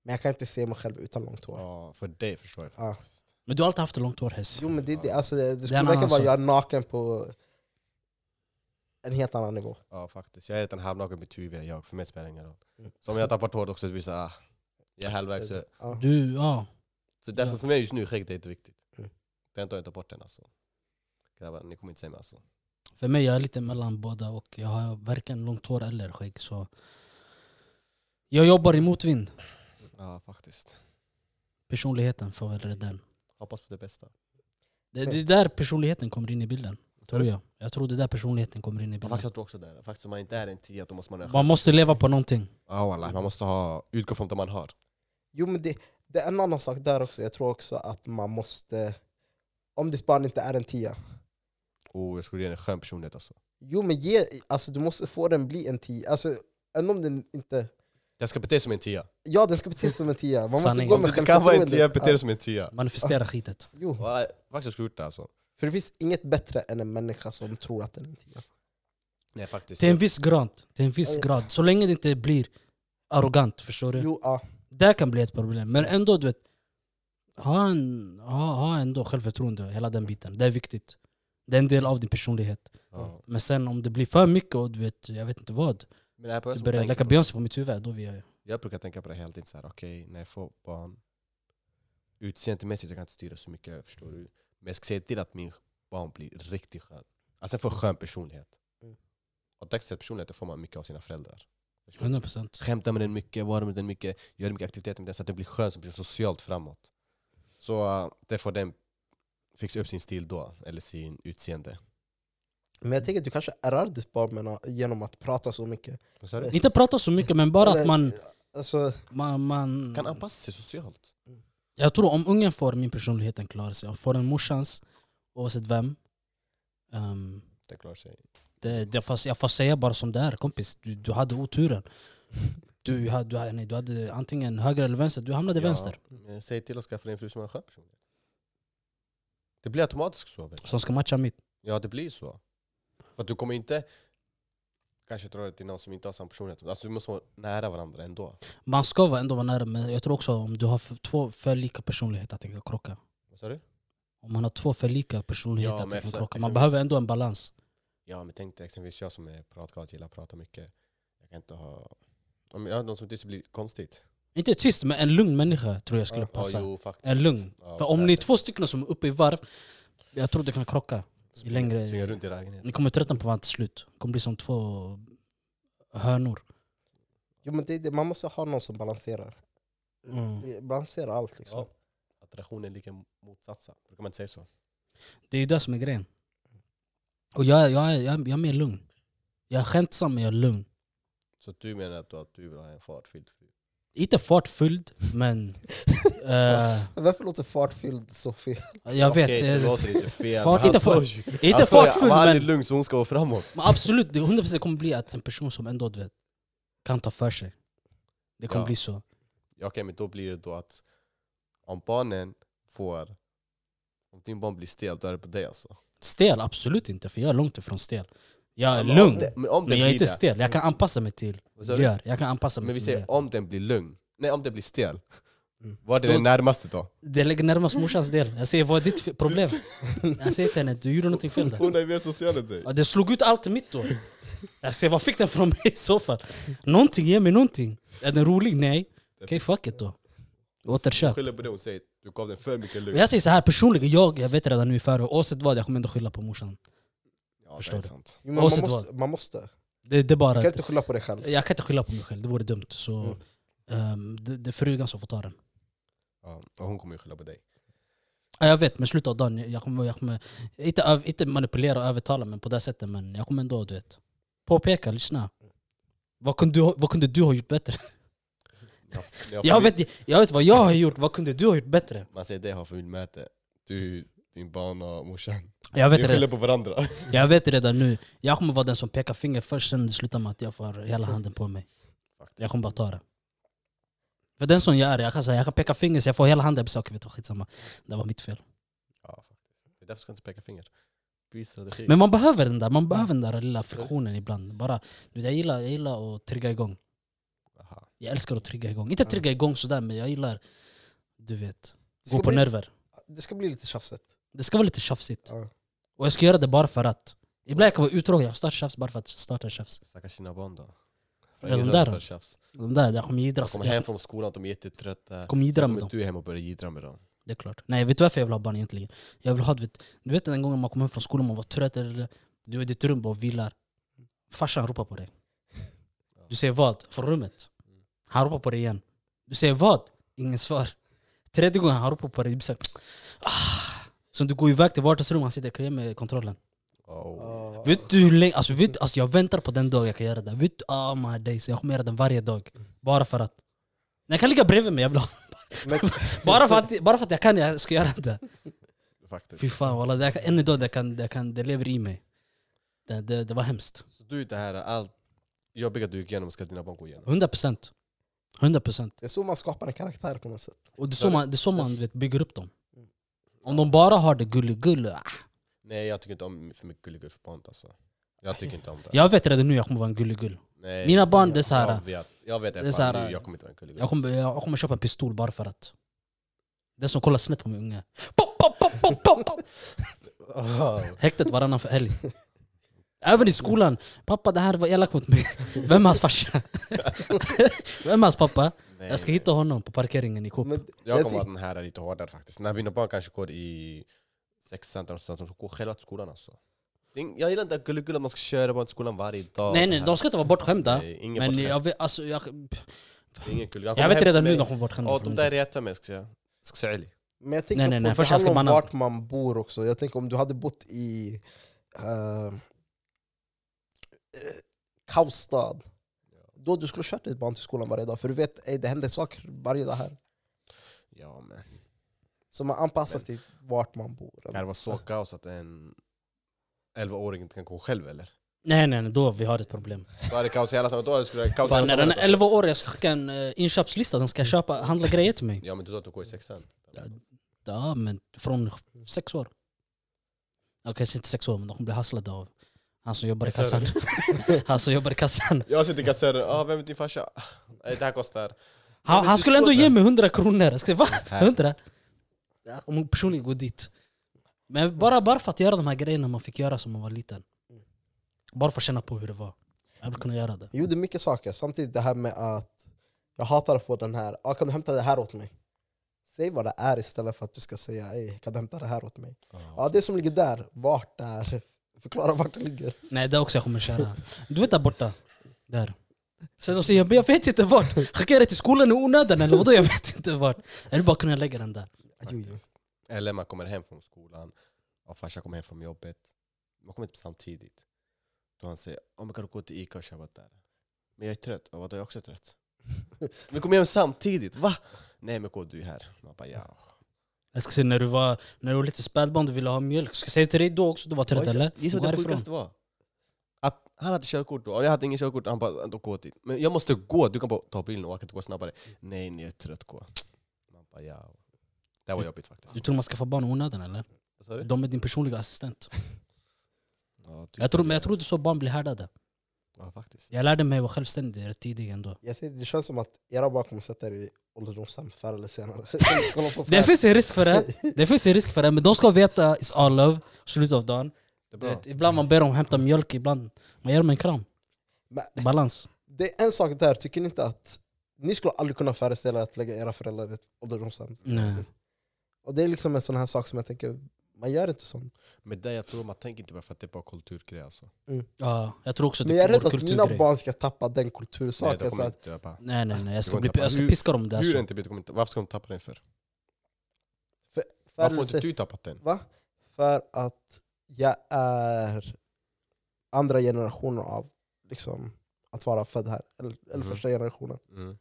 S1: Men jag kan inte se mig själv utan långt hår.
S3: Ja, för dig förstår jag.
S1: Ja.
S2: Men du har alltid haft långt hår Hess.
S1: Jo men det, det, alltså, det, det
S2: en
S1: skulle
S2: annan
S1: verkligen vara
S2: sak.
S1: jag är naken på en helt annan nivå.
S3: Ja faktiskt, jag är redan halvnaken med tuviga jag, för mig spelar det ingen roll.
S1: Mm.
S3: Så om jag tappar håret också, det blir såhär, ah, jag är halvvägs. Så,
S1: Ja.
S2: Du, ja.
S3: så därför för mig just nu, skägg det är inte viktigt.
S1: Mm.
S3: Den tar jag inte bort den alltså. Grabbar, ni kommer inte säga mig alltså.
S2: För mig, jag är lite mellan båda och jag har varken långt hår eller skägg. Så jag jobbar i motvind.
S3: Ja faktiskt.
S2: Personligheten får väl rädda den.
S3: Hoppas på det bästa.
S1: Mm.
S2: Det, det är där personligheten kommer in i bilden. Tror jag. Jag tror det är där personligheten kommer in i
S3: Ja,
S2: bilden.
S3: faktiskt jag tror också det. Faktiskt om man inte är en tia då måste man ha
S2: Man måste leva på någonting.
S3: Ja wallah, man måste ha, utgå från det man har.
S1: Jo men det, det är en annan sak där också. Jag tror också att man måste... Om ditt barn inte är en tia.
S3: Och Oh, jag skulle ge en skön personlighet alltså.
S1: Jo men ge, alltså, du måste få den bli en tia. Alltså, även om den inte...
S3: Jag ska bete mig som
S1: (laughs)
S3: en tia.
S1: Ja den ska bete sig som en tia. Man måste
S2: Sanning.
S1: gå
S2: Om
S1: med
S3: Du kan vara en tia,
S1: självförtroendet.
S3: bete dig som en tia.
S2: Manifestera skitet.
S1: Ja, jo.
S3: Wallah, Faktiskt jag skulle gjort det alltså.
S1: För det finns inget bättre än en människa som tror att den är en tia.
S3: Nej faktiskt.
S2: Till en viss grad. Till en viss
S1: Ja.
S2: grad. Så länge det inte blir arrogant, förstår du?
S1: Jo, ja.
S2: Det kan bli ett problem. Men ändå, du vet. Ha, en, ha, ha ändå självförtroende, hela den biten. Det är viktigt. Det är en del av din personlighet.
S3: Ja.
S2: Men sen om det blir för mycket och du vet, jag vet inte vad.
S3: Men det här är på jag
S2: Du
S3: som
S2: börjar
S3: tänker
S2: leka
S3: på-
S2: Beyoncé på mitt huvud, då vi är
S3: Jag brukar tänka på det hela tiden, så här, okej, när jag får barn, utseendemässigt, jag kan inte styra så mycket, förstår du. Men jag ska se till att min barn blir riktigt skön. Alltså jag får skön personlighet.
S1: Mm.
S3: Och textad personlighet, då får man mycket av sina föräldrar. Förstår du?
S2: 100%.
S3: Skämta med den mycket, vara med den mycket, gör mycket aktiviteter med den, så att det blir skön som person, socialt framåt. Så äh, det får den fixa upp sin stil då, eller sin utseende.
S1: Men jag tänker att du kanske ärrar ditt barn med- genom att prata så mycket.
S3: Vad sa du?
S2: Inte prata så mycket men bara att
S1: Eller,
S2: man...
S1: Alltså,
S2: man, man
S3: Kan anpassa sig socialt.
S2: jag tror om ungen får min personlighet, den klarar sig. Om får en morsans, oavsett vem. ehm,
S3: Det klarar sig.
S2: det, det fast jag får säga bara som det är kompis, du, du hade oturen. Du, du, hade- du, hade- nej, du hade antingen höger eller vänster, du hamnade
S3: Ja,
S2: vänster.
S3: men Säg till att skaffa dig en fru som har en skön personlighet. Det blir automatiskt så. Vet du.
S2: Som ska matcha mitt.
S3: Ja, det blir så. För att du kommer inte kanske dra dig till någon som inte har samma personlighet. Alltså du måste vara nära varandra ändå.
S2: Man ska vara ändå vara nära, men jag tror också om du har för, två för lika personligheter att det kan krocka.
S3: Vad sa du?
S2: Om man har två för lika personligheter
S3: Ja,
S2: att
S3: men
S2: det kan
S3: exa-
S2: krocka. Man
S3: exempelvis-
S2: behöver ändå en balans.
S3: Ja, men tänk dig exempelvis jag som är pratglad, gillar att prata mycket. Jag kan inte ha... Om jag har någon som tyst blir det konstigt.
S2: Inte tyst, men en lugn människa tror jag skulle
S1: Ja,
S2: passa.
S3: Ja, jo, faktiskt.
S2: En lugn.
S3: Ja,
S2: För om ni är
S3: där.
S2: två stycken som är uppe i varv, jag tror det kan krocka.
S3: Springa-
S2: längre-
S3: Springa runt i lägenheten.
S2: Ni kommer tröttna på varandra till slut. Det kommer bli som två hönor.
S1: jo, men det, är det, man måste ha någon som balanserar.
S2: Mm.
S1: Vi balanserar allt liksom.
S3: Ja. Attraktion är lika motsatsa. Brukar man inte säga så?
S2: Det är ju det som är grejen. Och jag, är- jag, är- jag, är- jag är mer lugn. Jag är skämtsam men jag är lugn.
S3: Så du menar att du, att du vill ha en fartfylld fru?
S2: Inte fartfylld,
S3: (laughs)
S2: men... eh,
S1: Varför låter fartfylld så fel?
S2: jag vet.
S3: Okej, det
S2: eh,
S3: låter inte fel. Alltså,
S2: Fart-
S3: Han
S2: inte
S3: sa
S2: fart-
S3: ju-
S2: inte
S3: han sa ju,
S2: fartfylld,
S3: "Var aldrig
S2: men-
S3: lugn så hon ska gå framåt.
S2: Men absolut, det 100% kommer bli att en person som ändå du vet, kan ta för sig. Det kommer
S3: Ja.
S2: bli så.
S3: Ja, Okej, men då blir det då att om barnen får... Om din barn blir stel, då är det på dig alltså.
S2: Stel, absolut inte, för jag är långt ifrån stel. Jag är
S3: Men om
S2: lugn,
S3: det- Men, om det
S2: men jag är
S3: blir
S2: inte
S3: det,
S2: stel. Jag kan anpassa mig till
S3: vad sa du?
S2: miljöer. Jag kan anpassa mig
S3: Men vi
S2: till
S3: säger
S2: miljöer.
S3: om den blir lugn. Nej, om den blir stel.
S1: Mm.
S3: Vad är
S2: Då-
S3: det närmaste då?
S2: Det ligger närmast morsans del. Jag säger, vad är ditt fe- problem? Jag säger till henne, du gjorde någonting fel där.
S3: (laughs) Hon är mer social än dig.
S2: Ja, Det slog ut allt i mitt då. Jag säger, vad fick den från mig i så fall? Någonting, ge mig någonting. Är den rolig? Nej. Okej, fuck it då.
S3: Hon
S2: Återköp.
S3: skyller på det, hon säger du gav den för mycket lugn.
S2: Jag säger så här personligen, jag, jag vet redan nu i förväg, oavsett vad, jag kommer ändå skylla på morsan.
S3: Ja,
S2: förstår
S3: det är
S2: det.
S3: sant.
S1: Jo, men man,
S2: Oavsett
S1: måste, man måste.
S2: Det, det är bara...
S1: Du kan inte skylla på dig själv.
S2: Jag kan inte skylla på mig själv, det vore dumt. Så,
S1: Mm.
S2: ehm, det, det är frugan som får ta den.
S3: Ja, och hon kommer ju skylla på dig.
S2: Ja, jag vet, men slutet av dagen, jag kommer, jag kommer inte, öv, inte manipulera och övertala men på det sättet, men jag kommer ändå du vet, påpeka, lyssna. Vad kunde, du, ha- vad kunde du ha gjort bättre?
S3: Jag,
S2: Jag vet, jag vet vad jag har gjort, vad kunde du ha gjort bättre?
S3: Man säger det har familjemäte. Du, din barn och morsan.
S2: Jag
S3: Ni
S2: vet, redan,
S3: skyller på varandra.
S2: jag vet redan nu, jag kommer vara den som pekar finger först, sen det slutar med att jag får hela handen på mig. Jag kommer bara ta det. För den som jag är, jag kan, säga, jag kan peka finger så jag får hela handen, jag blir så, okej, vet du, skitsamma. Det var mitt fel.
S3: Ja, faktiskt. Det är därför ska jag inte peka finger. Byt strategi.
S2: Men man behöver den där, man behöver den där lilla friktionen ibland. Bara, du vet, jag, gillar, jag gillar att trigga igång.
S3: Aha.
S2: Jag älskar att trigga igång. Inte trigga igång sådär, men jag gillar, du vet,
S1: Det ska,
S2: gå på
S1: bli,
S2: nerver.
S1: det ska bli lite tjafsigt.
S2: Det ska vara lite tjafsigt.
S1: Ja.
S2: Och jag ska göra det bara för att. Ibland kan jag vara uttråkad, jag startar tjafs bara för att starta tjafs.
S3: Stackars dina barn då.
S2: Men de
S3: Ingen
S2: där
S3: tar
S2: då?
S3: tjafs.
S2: De där, jag kommer
S3: De
S2: jiddra.
S3: kommer hem
S2: Jag
S3: från skolan, de är jättetrötta.
S2: kommer jiddra med
S3: Kommer
S2: dem,
S3: du hem och börjar jiddra med dem.
S2: det är klart. Nej, vet du varför jag vill ha barn egentligen? Jag vill ha, du vet, du vet den gången man kom hem från skolan, man var trött, eller du är i ditt rum bara och vilar. Farsan ropar på dig. Du säger vad? Från rummet. Han ropar på dig igen. Du säger vad? Ingen svar. Tredje gången han ropar på dig, du blir såhär... Ah. Så du går iväg till vardagsrummet, han sitter och kliar med kontrollen.
S3: Oh.
S1: Ja.
S2: Vet du hur länge... Alltså, vet, du- alltså jag väntar på den dag jag kan göra det. Vet du? Ah my days. Jag kommer göra den varje dag. Bara för att... Den kan ligga bredvid mig, jag vill ha.
S1: Men,
S2: Bara för att, bara för att jag kan, jag ska göra det.
S3: Faktiskt.
S2: Fy fan walla, det, än idag det, kan, det, kan, det lever i mig. Det, det, det var hemskt.
S3: Så du är det här allt jobbiga du gick igenom ska dina barn gå igenom.
S2: 100%. 100%.
S1: Det är så man skapar en karaktär på något sätt.
S2: Och det är så man, det är så man du vet, bygger upp dem.
S1: Mm.
S2: Om de bara har det gullegulle. ah.
S3: Nej, jag tycker inte om för mycket gulliga för barn alltså. Jag tycker inte om det.
S2: Jag vet redan nu jag kommer vara en gullegull.
S3: Nej.
S2: Mina barn, det är
S3: Jag
S2: såhär.
S3: vet, jag vet det,
S2: Det är
S3: fan,
S2: så här,
S3: nu, jag kommer inte vara en gullig
S2: Jag kommer, jag kommer köpa en pistol bara för att. Den som kollar snett på min unge. Pop, pop, pop, pop, pop, pop. Häktet varannan för helg. Även i skolan. Pappa det här var elakt mot mig. Vem är hans farsa? Vem är hans pappa?
S3: Nej,
S2: Jag ska
S3: nej.
S2: hitta honom på parkeringen i Coop.
S1: Men,
S3: Jag
S1: Jag
S3: kommer
S1: ty-
S3: att den här är lite hårdare faktiskt. När mina barn kanske går i sexan eller sånt, de går själva till skolan alltså. Det är ing- Jag gillar inte att gulligulla, man ska köra barn till skolan varje dag.
S2: Nej
S3: Det
S2: nej,
S3: här.
S2: de ska inte vara bortskämda.
S3: Nej, ingen
S2: Men
S3: bortskämd.
S2: jag vet, alltså, jag,
S3: Det är ingen gull.
S2: jag vet redan nu de
S3: de
S2: kommer vara bortskämda.
S3: Ja,
S2: från
S3: de
S2: mig.
S3: där retar mig ska jag säga. Ska säga ärlig.
S1: men jag tänker
S2: Nej, nej, nej.
S1: på
S2: Först
S1: det
S2: jag ska
S1: handlar om
S2: banna-
S1: vart man bor också. Jag tänker om du hade bott i eh, eh, Kaustad, då du skulle kört ditt barn till skolan varje dag. För du vet, ey, det händer saker varje dag här.
S3: Ja men.
S1: Så man anpassas
S3: Men-
S1: till vart man bor.
S3: Kan det vara så kaos att en 11-åring inte kan gå själv eller?
S2: Nej nej, nej, då vi har ett problem.
S3: Då är det kaos i alla sammanhang. Då är det skulle det kaos i
S2: Fan,
S3: alla
S2: när den är
S3: sammanhang.
S2: 11 år, jag ska skicka en eh, inköpslista, den ska jag köpa, handla grejer till mig.
S3: Ja men du sa att du går i sexan.
S2: Ja, men från sex år. Ja, kanske inte sex år, men de kommer bli hasslade av han som jobbar i kassan. (laughs) Han som jobbar i kassan.
S3: Jag sitter i kassören, ah, vem är din farsa? Nej, det här kostar.
S2: Han, han skulle ändå ge mig 100 kronor. Jag ska, va?
S3: Här.
S2: 100? Jag kommer personligen gå dit. Men bara, bara för att göra de här grejerna man fick göra som man var liten. Bara för att känna på hur det var. Jag vill kunna göra det.
S1: Jag gjorde mycket saker. Samtidigt det här med att jag hatar att få den här, ah, kan du hämta det här åt mig? Säg vad det är istället för att du ska säga, ey, kan du hämta det här åt mig?
S3: Ah,
S1: Ja, det som ligger där, vart där? (laughs) Förklara vart det ligger.
S2: Nej, det också jag kommer köra. Du vet där borta? Där. Sen de säger jag, men jag vet inte vart. Skickar jag det till skolan i onödan eller vadå? Jag vet inte vart. Är det bara kunna lägga den där?
S1: Jo, jo.
S3: faktiskt. Eller man kommer hem från skolan och farsan kommer hem från jobbet. Man kommer typ samtidigt. Då han säger om man kan du gå till Ica och köpa där. Men jag är trött. Och vadå, jag är också trött.
S2: (laughs)
S3: Vi kommer hem samtidigt. Va? Nej men gå du här. Man bara ja.
S2: Jag ska säga, när du var, när du var lite spädbarn och ville ha mjölk, ska jag säga till dig då också? Du var trött eller?
S3: Gissa
S2: Gå
S3: vad det
S2: härifrån.
S3: sjukaste var? Att han hade körkort då, och jag hade ingen körkort. Han bara då gå dit. Men jag måste gå, du kan bara ta bilen och jag kan inte gå snabbare. Nej nej jag är trött, gå. Man bara ja. Det var jobbigt faktiskt.
S2: Du tror man skaffar barn i onödan eller?
S3: Vad sa du?
S2: De är din personliga assistent.
S3: Ja, typ
S2: Jag tror, men
S3: det.
S2: jag tror inte så barn blir härdade.
S3: Ja faktiskt.
S2: Jag lärde mig vara självständig rätt tidigt ändå.
S1: Jag ser, det känns som att era barn kommer sätta er i ålderdomshem förr eller senare. (laughs)
S2: Det finns en risk för det. Det finns en risk för det. Men de ska veta is all love, slutet av dagen.
S3: Det är
S2: Du
S3: bra.
S2: vet, ibland man ber dem hämta mjölk, ibland man ger dem en kram.
S1: Men-
S2: Balans.
S1: Det är en sak där, tycker ni inte att ni skulle aldrig kunna föreställa er att lägga era föräldrar i ett ålderdomshem?
S2: Nej.
S1: Och det är liksom en sån här sak som jag tänker, man gör inte sånt.
S3: Men det jag tror, man tänker inte bara för att det är bara kulturgrej alltså.
S2: Ja, jag tror också
S1: Men jag är
S2: det är
S1: rädd
S2: vår
S1: att mina
S2: kulturgrej.
S1: barn ska tappa den
S3: typ Nej, de
S1: kultursaken. så
S3: kommer
S1: att,
S3: inte bara,
S2: Nej nej nej, jag ska,
S3: går
S2: bli,
S3: inte
S2: jag ska
S3: bara-
S2: piska dem där.
S3: hur
S2: Så.
S3: är inte, det kommer inte, varför ska de tappa den för?
S1: förr
S3: Varför
S1: eller
S3: har inte
S1: sen-
S3: du tappat den?
S1: Va? För att jag är andra generationen av liksom, att vara född här. Eller, eller
S3: Mhm.
S1: första generationen.
S3: Mm.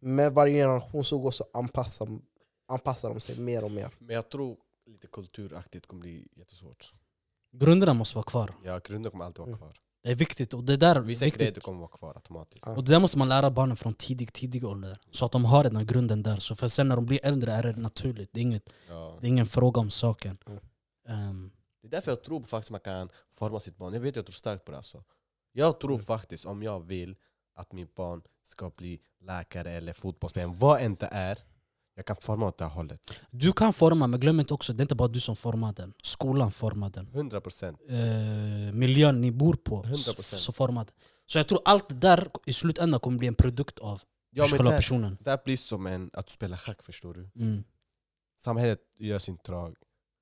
S1: Med varje generation så går så anpassar, anpassar de sig mer och mer.
S3: Men jag tror lite kulturaktigt kommer bli jättesvårt.
S2: Grunderna måste vara kvar.
S3: Ja, grunden kommer alltid vara
S1: Mm.
S3: kvar.
S2: Det är viktigt och det där är
S3: Vissa grejer
S2: viktigt.
S3: du kommer vara kvar automatiskt.
S1: Ja.
S2: Och det där måste man lära barnen från tidig, tidig ålder. Så att de har den här grunden där. Så för sen när de blir äldre är det naturligt. Det är, inget,
S3: Ja.
S2: det är ingen fråga om saken.
S1: Mm.
S2: Ehm,
S3: Det är därför jag tror faktiskt man kan forma sitt barn. Jag vet, jag tror starkt på det alltså. Jag tror
S2: Mm.
S3: faktiskt, om jag vill att min barn ska bli läkare eller fotbollsspelare, vad än det är, jag kan forma åt det här hållet.
S2: du kan forma, men glöm inte också, det är inte bara du som formar den. Skolan formar den.
S3: 100%. procent.
S2: eh, miljön ni bor på
S3: 100%.
S2: så, så formad. Så jag tror allt det där i slutändan kommer bli en produkt av
S3: Ja, men
S2: själva
S3: det,
S2: personen.
S3: det här blir som en, att du spelar schack, förstår du?
S2: Mm.
S3: samhället gör sin drag,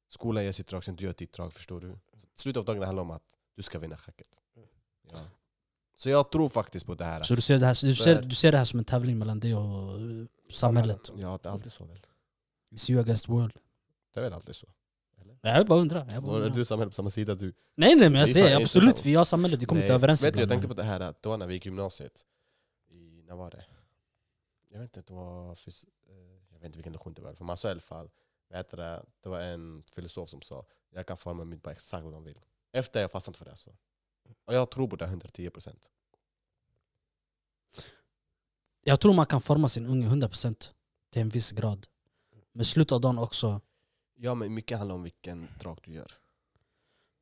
S3: skolan gör sitt drag, sen du gör ditt drag, förstår du? Slutet av dagen handlar om att du ska vinna schacket. Ja. Så jag tror faktiskt på det här.
S2: Så du ser det, här, du,
S3: Så
S2: ser,
S3: är det.
S2: du ser det här som en tävling mellan dig och eh, samhället.
S3: Ja, det är alltid så väl?
S2: It's you against the world.
S3: Det är väl alltid så?
S2: Jag vill bara undra. Jag bara
S3: Är
S2: undrar.
S3: du samhället på samma sida? Du.
S2: Nej nej men jag
S3: Vi
S2: säger
S3: fan är
S2: absolut,
S3: inte-
S2: vi har samhället, vi kommer inte överens
S3: Vet du, jag
S2: ibland,
S3: tänkte på
S2: men-
S3: det här, att det var när vi gick i gymnasiet. I, när var det? Jag vet inte, det var... Fys- eh, jag vet inte vilken lektion det var, för man sa i alla fall. Vet du, det det var en filosof som sa, jag kan forma mitt barn exakt vad de vill. Efter jag fastnat för det alltså. Och jag tror på det 110%.
S2: Jag tror man kan forma sin unge 100% till en viss grad. Men slutet av dagen också,
S3: Ja men mycket handlar om vilken drag du gör.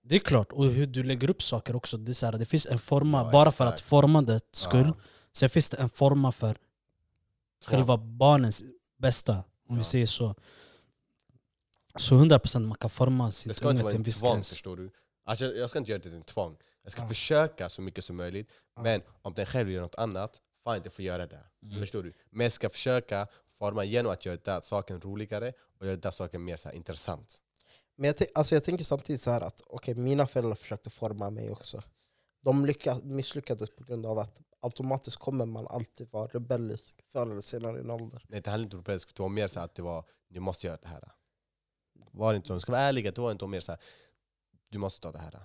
S2: det är klart. Och hur du lägger upp saker också. Det, är så här, det finns en forma
S3: Ja,
S2: bara för
S3: exakt.
S2: att formandets skull.
S3: Ja.
S2: Sen finns det en forma för själva barnens bästa, om vi
S3: Ja.
S2: säger så. Så 100% man kan forma
S3: Det
S2: sitt
S3: ska inte
S2: unga
S3: vara
S2: till en
S3: en
S2: viss
S3: tvång
S2: gräns. Ah.
S3: förstår du. Alltså, jag, jag ska inte göra det till en tvång. Jag ska
S1: Ja.
S3: försöka så mycket som möjligt.
S1: Ja.
S3: Men om den själv gör något annat, fan inte får göra det.
S2: Mm.
S3: Förstår du? Men jag ska försöka forma genom att göra den saken roligare och göra den saken mer så här, intressant.
S1: Men jag, tän- alltså jag tänker samtidigt så här att okej, mina föräldrar försökte forma mig också. De lycka- misslyckades på grund av att automatiskt kommer man alltid vara rebellisk förr eller senare i en ålder.
S3: Nej, det handlar inte om rebellisk, det var mer så här att det var, du måste göra det här. Var inte så, ska vara ärliga, det var inte mer så här, du måste ta det här.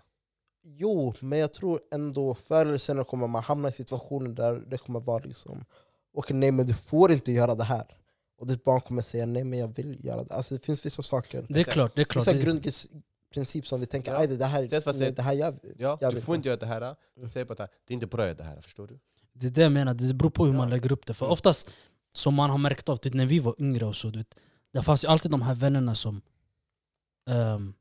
S1: Jo, men jag tror ändå förr eller senare kommer man hamna i situationer där det kommer vara liksom och nej men du får inte göra det här. Och ditt barn kommer säga nej men jag vill göra det. Alltså det finns vissa saker,
S2: Det är
S3: Exakt.
S2: klart, det är klart.
S1: vissa
S2: Det är,
S1: grundprinciper som vi tänker
S3: Ja.
S1: aj det här,
S3: Sen så vad
S1: nej,
S3: säger-
S1: det här gör vi.
S3: Ja,
S1: Jag
S3: du
S1: vet
S3: får
S1: inte.
S3: inte göra det här.
S1: Mm.
S3: Säg bara att det inte är bra att göra det här, förstår du?
S2: det är det jag menar, det beror på hur man
S3: Ja.
S2: lägger upp det. För
S1: Mm.
S2: oftast, som man har märkt av, typ när vi var yngre och så, du vet, det fanns ju alltid de här vännerna som... ehm,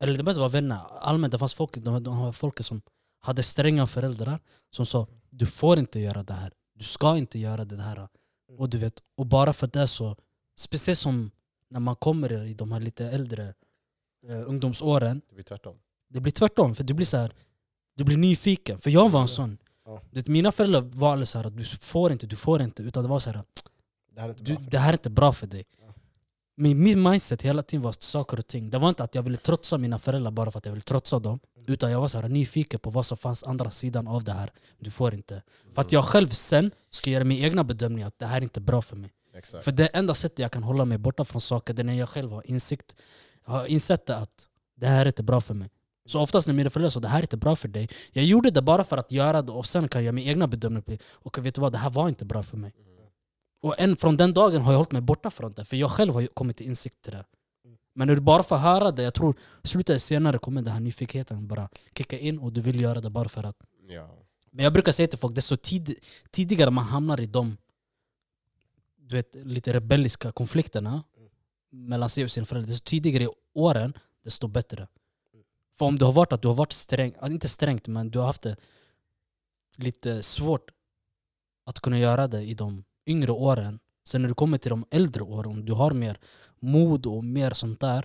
S2: eller det behöver inte vara vänner, allmänt det fanns folk, de, här- de här folket som hade stränga föräldrar som sa du får inte göra det här, du ska inte göra det här. Och du vet, och bara för det så, speciellt som när man kommer i de här lite äldre eh, ungdomsåren,
S3: Det blir tvärtom.
S2: det blir tvärtom. För du blir så här, du blir nyfiken. För jag var
S1: Ja.
S2: en sån.
S1: Ja.
S2: Du vet, mina föräldrar var aldrig så här, du får inte, du får inte. Utan det var så här,
S1: Det här är inte
S2: du,
S1: bra för
S2: det här är inte bra för dig.
S1: Ja.
S2: Men min mindset hela tiden var saker och ting. Det var inte att jag ville trotsa mina föräldrar bara för att jag ville trotsa dem.
S1: Mm.
S2: Utan jag var så här nyfiken på vad som fanns andra sidan av det här. Du får inte. För
S3: Mm,
S1: Mm.
S2: att jag själv sen ska göra min egna bedömning att det här är inte bra för mig.
S3: Exakt.
S2: För det enda sättet jag kan hålla mig borta från saker det är när jag själv har insikt, har insett det att det här är inte bra för mig. Så oftast när mina föräldrar sa det här är inte bra för dig, jag gjorde det bara för att göra det och sen kan jag göra min egna bedömning. Och vet du vad, det här var inte bra för mig. Och än från den dagen har jag hållit mig borta från det, för jag själv har ju kommit till insikt till det. Men när du bara får höra det, jag tror slutet eller senare kommer den här nyfikenheten bara kicka in och du vill göra det bara för att.
S3: Ja.
S2: Men jag brukar säga till folk, desto tid, tidigare man hamnar i de du vet, lite rebelliska konflikterna mellan sig och sina föräldrar, desto tidigare i åren, desto bättre. För om det har varit att du har varit sträng, ja, inte strängt, men du har haft det lite svårt att kunna göra det i de yngre åren. Sen när du kommer till de äldre åren, om du har mer mod och mer sånt där,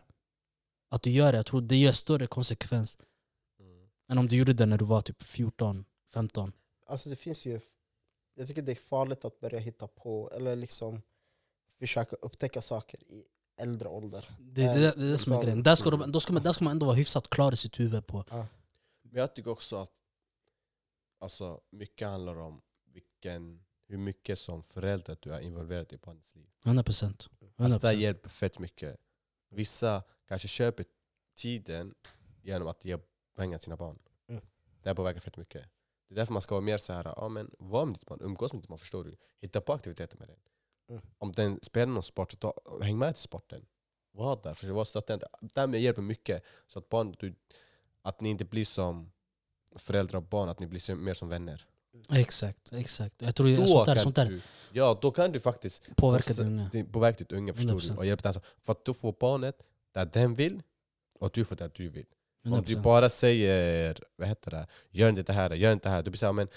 S2: att du gör det, jag tror det ger större konsekvens
S3: Mm.
S2: än om du gjorde det när du var typ 14, 15.
S1: Alltså det finns ju, jag tycker det är farligt att börja hitta på, eller liksom försöka upptäcka saker i äldre ålder.
S2: Det, det, det, det är det som är grejen. Där ska, de, då ska man, där ska man ändå vara hyfsat klar i sitt huvud på.
S3: Men jag tycker också att alltså, mycket handlar om vilken, hur mycket som förälder du är involverad i barnets liv.
S2: 100 procent.
S3: Alltså, det hjälper fett mycket. Vissa kanske köper tiden genom att ge pengar till sina barn.
S1: Mm.
S3: Det här påverkar fett mycket. Det är därför man ska vara mer så här, ja, men var med ditt barn, umgås med ditt barn, förstår du? Hitta på aktiviteter med den.
S1: Mm.
S3: Om den spelar någon sport, så ta, häng med till sporten. Var där, för var stöttande. Det hjälper mycket. Så att, barn, du, att ni inte blir som föräldrar och barn, att ni blir som- mer som vänner.
S2: Exakt, exakt. Jag tror
S3: Då
S2: att sånt där,
S3: kan
S2: sånt där
S3: Du, ja, då kan du faktiskt
S2: påverkar
S3: så-
S2: den unga.
S3: det påverkar ditt unga förstår du
S2: 100%.
S3: och hjälper den. så- För att du får barnet där den vill och du får det du vill. Om du
S2: 100%.
S3: bara säger, vad heter det, gör inte det här, gör inte det här. Du blir såhär, men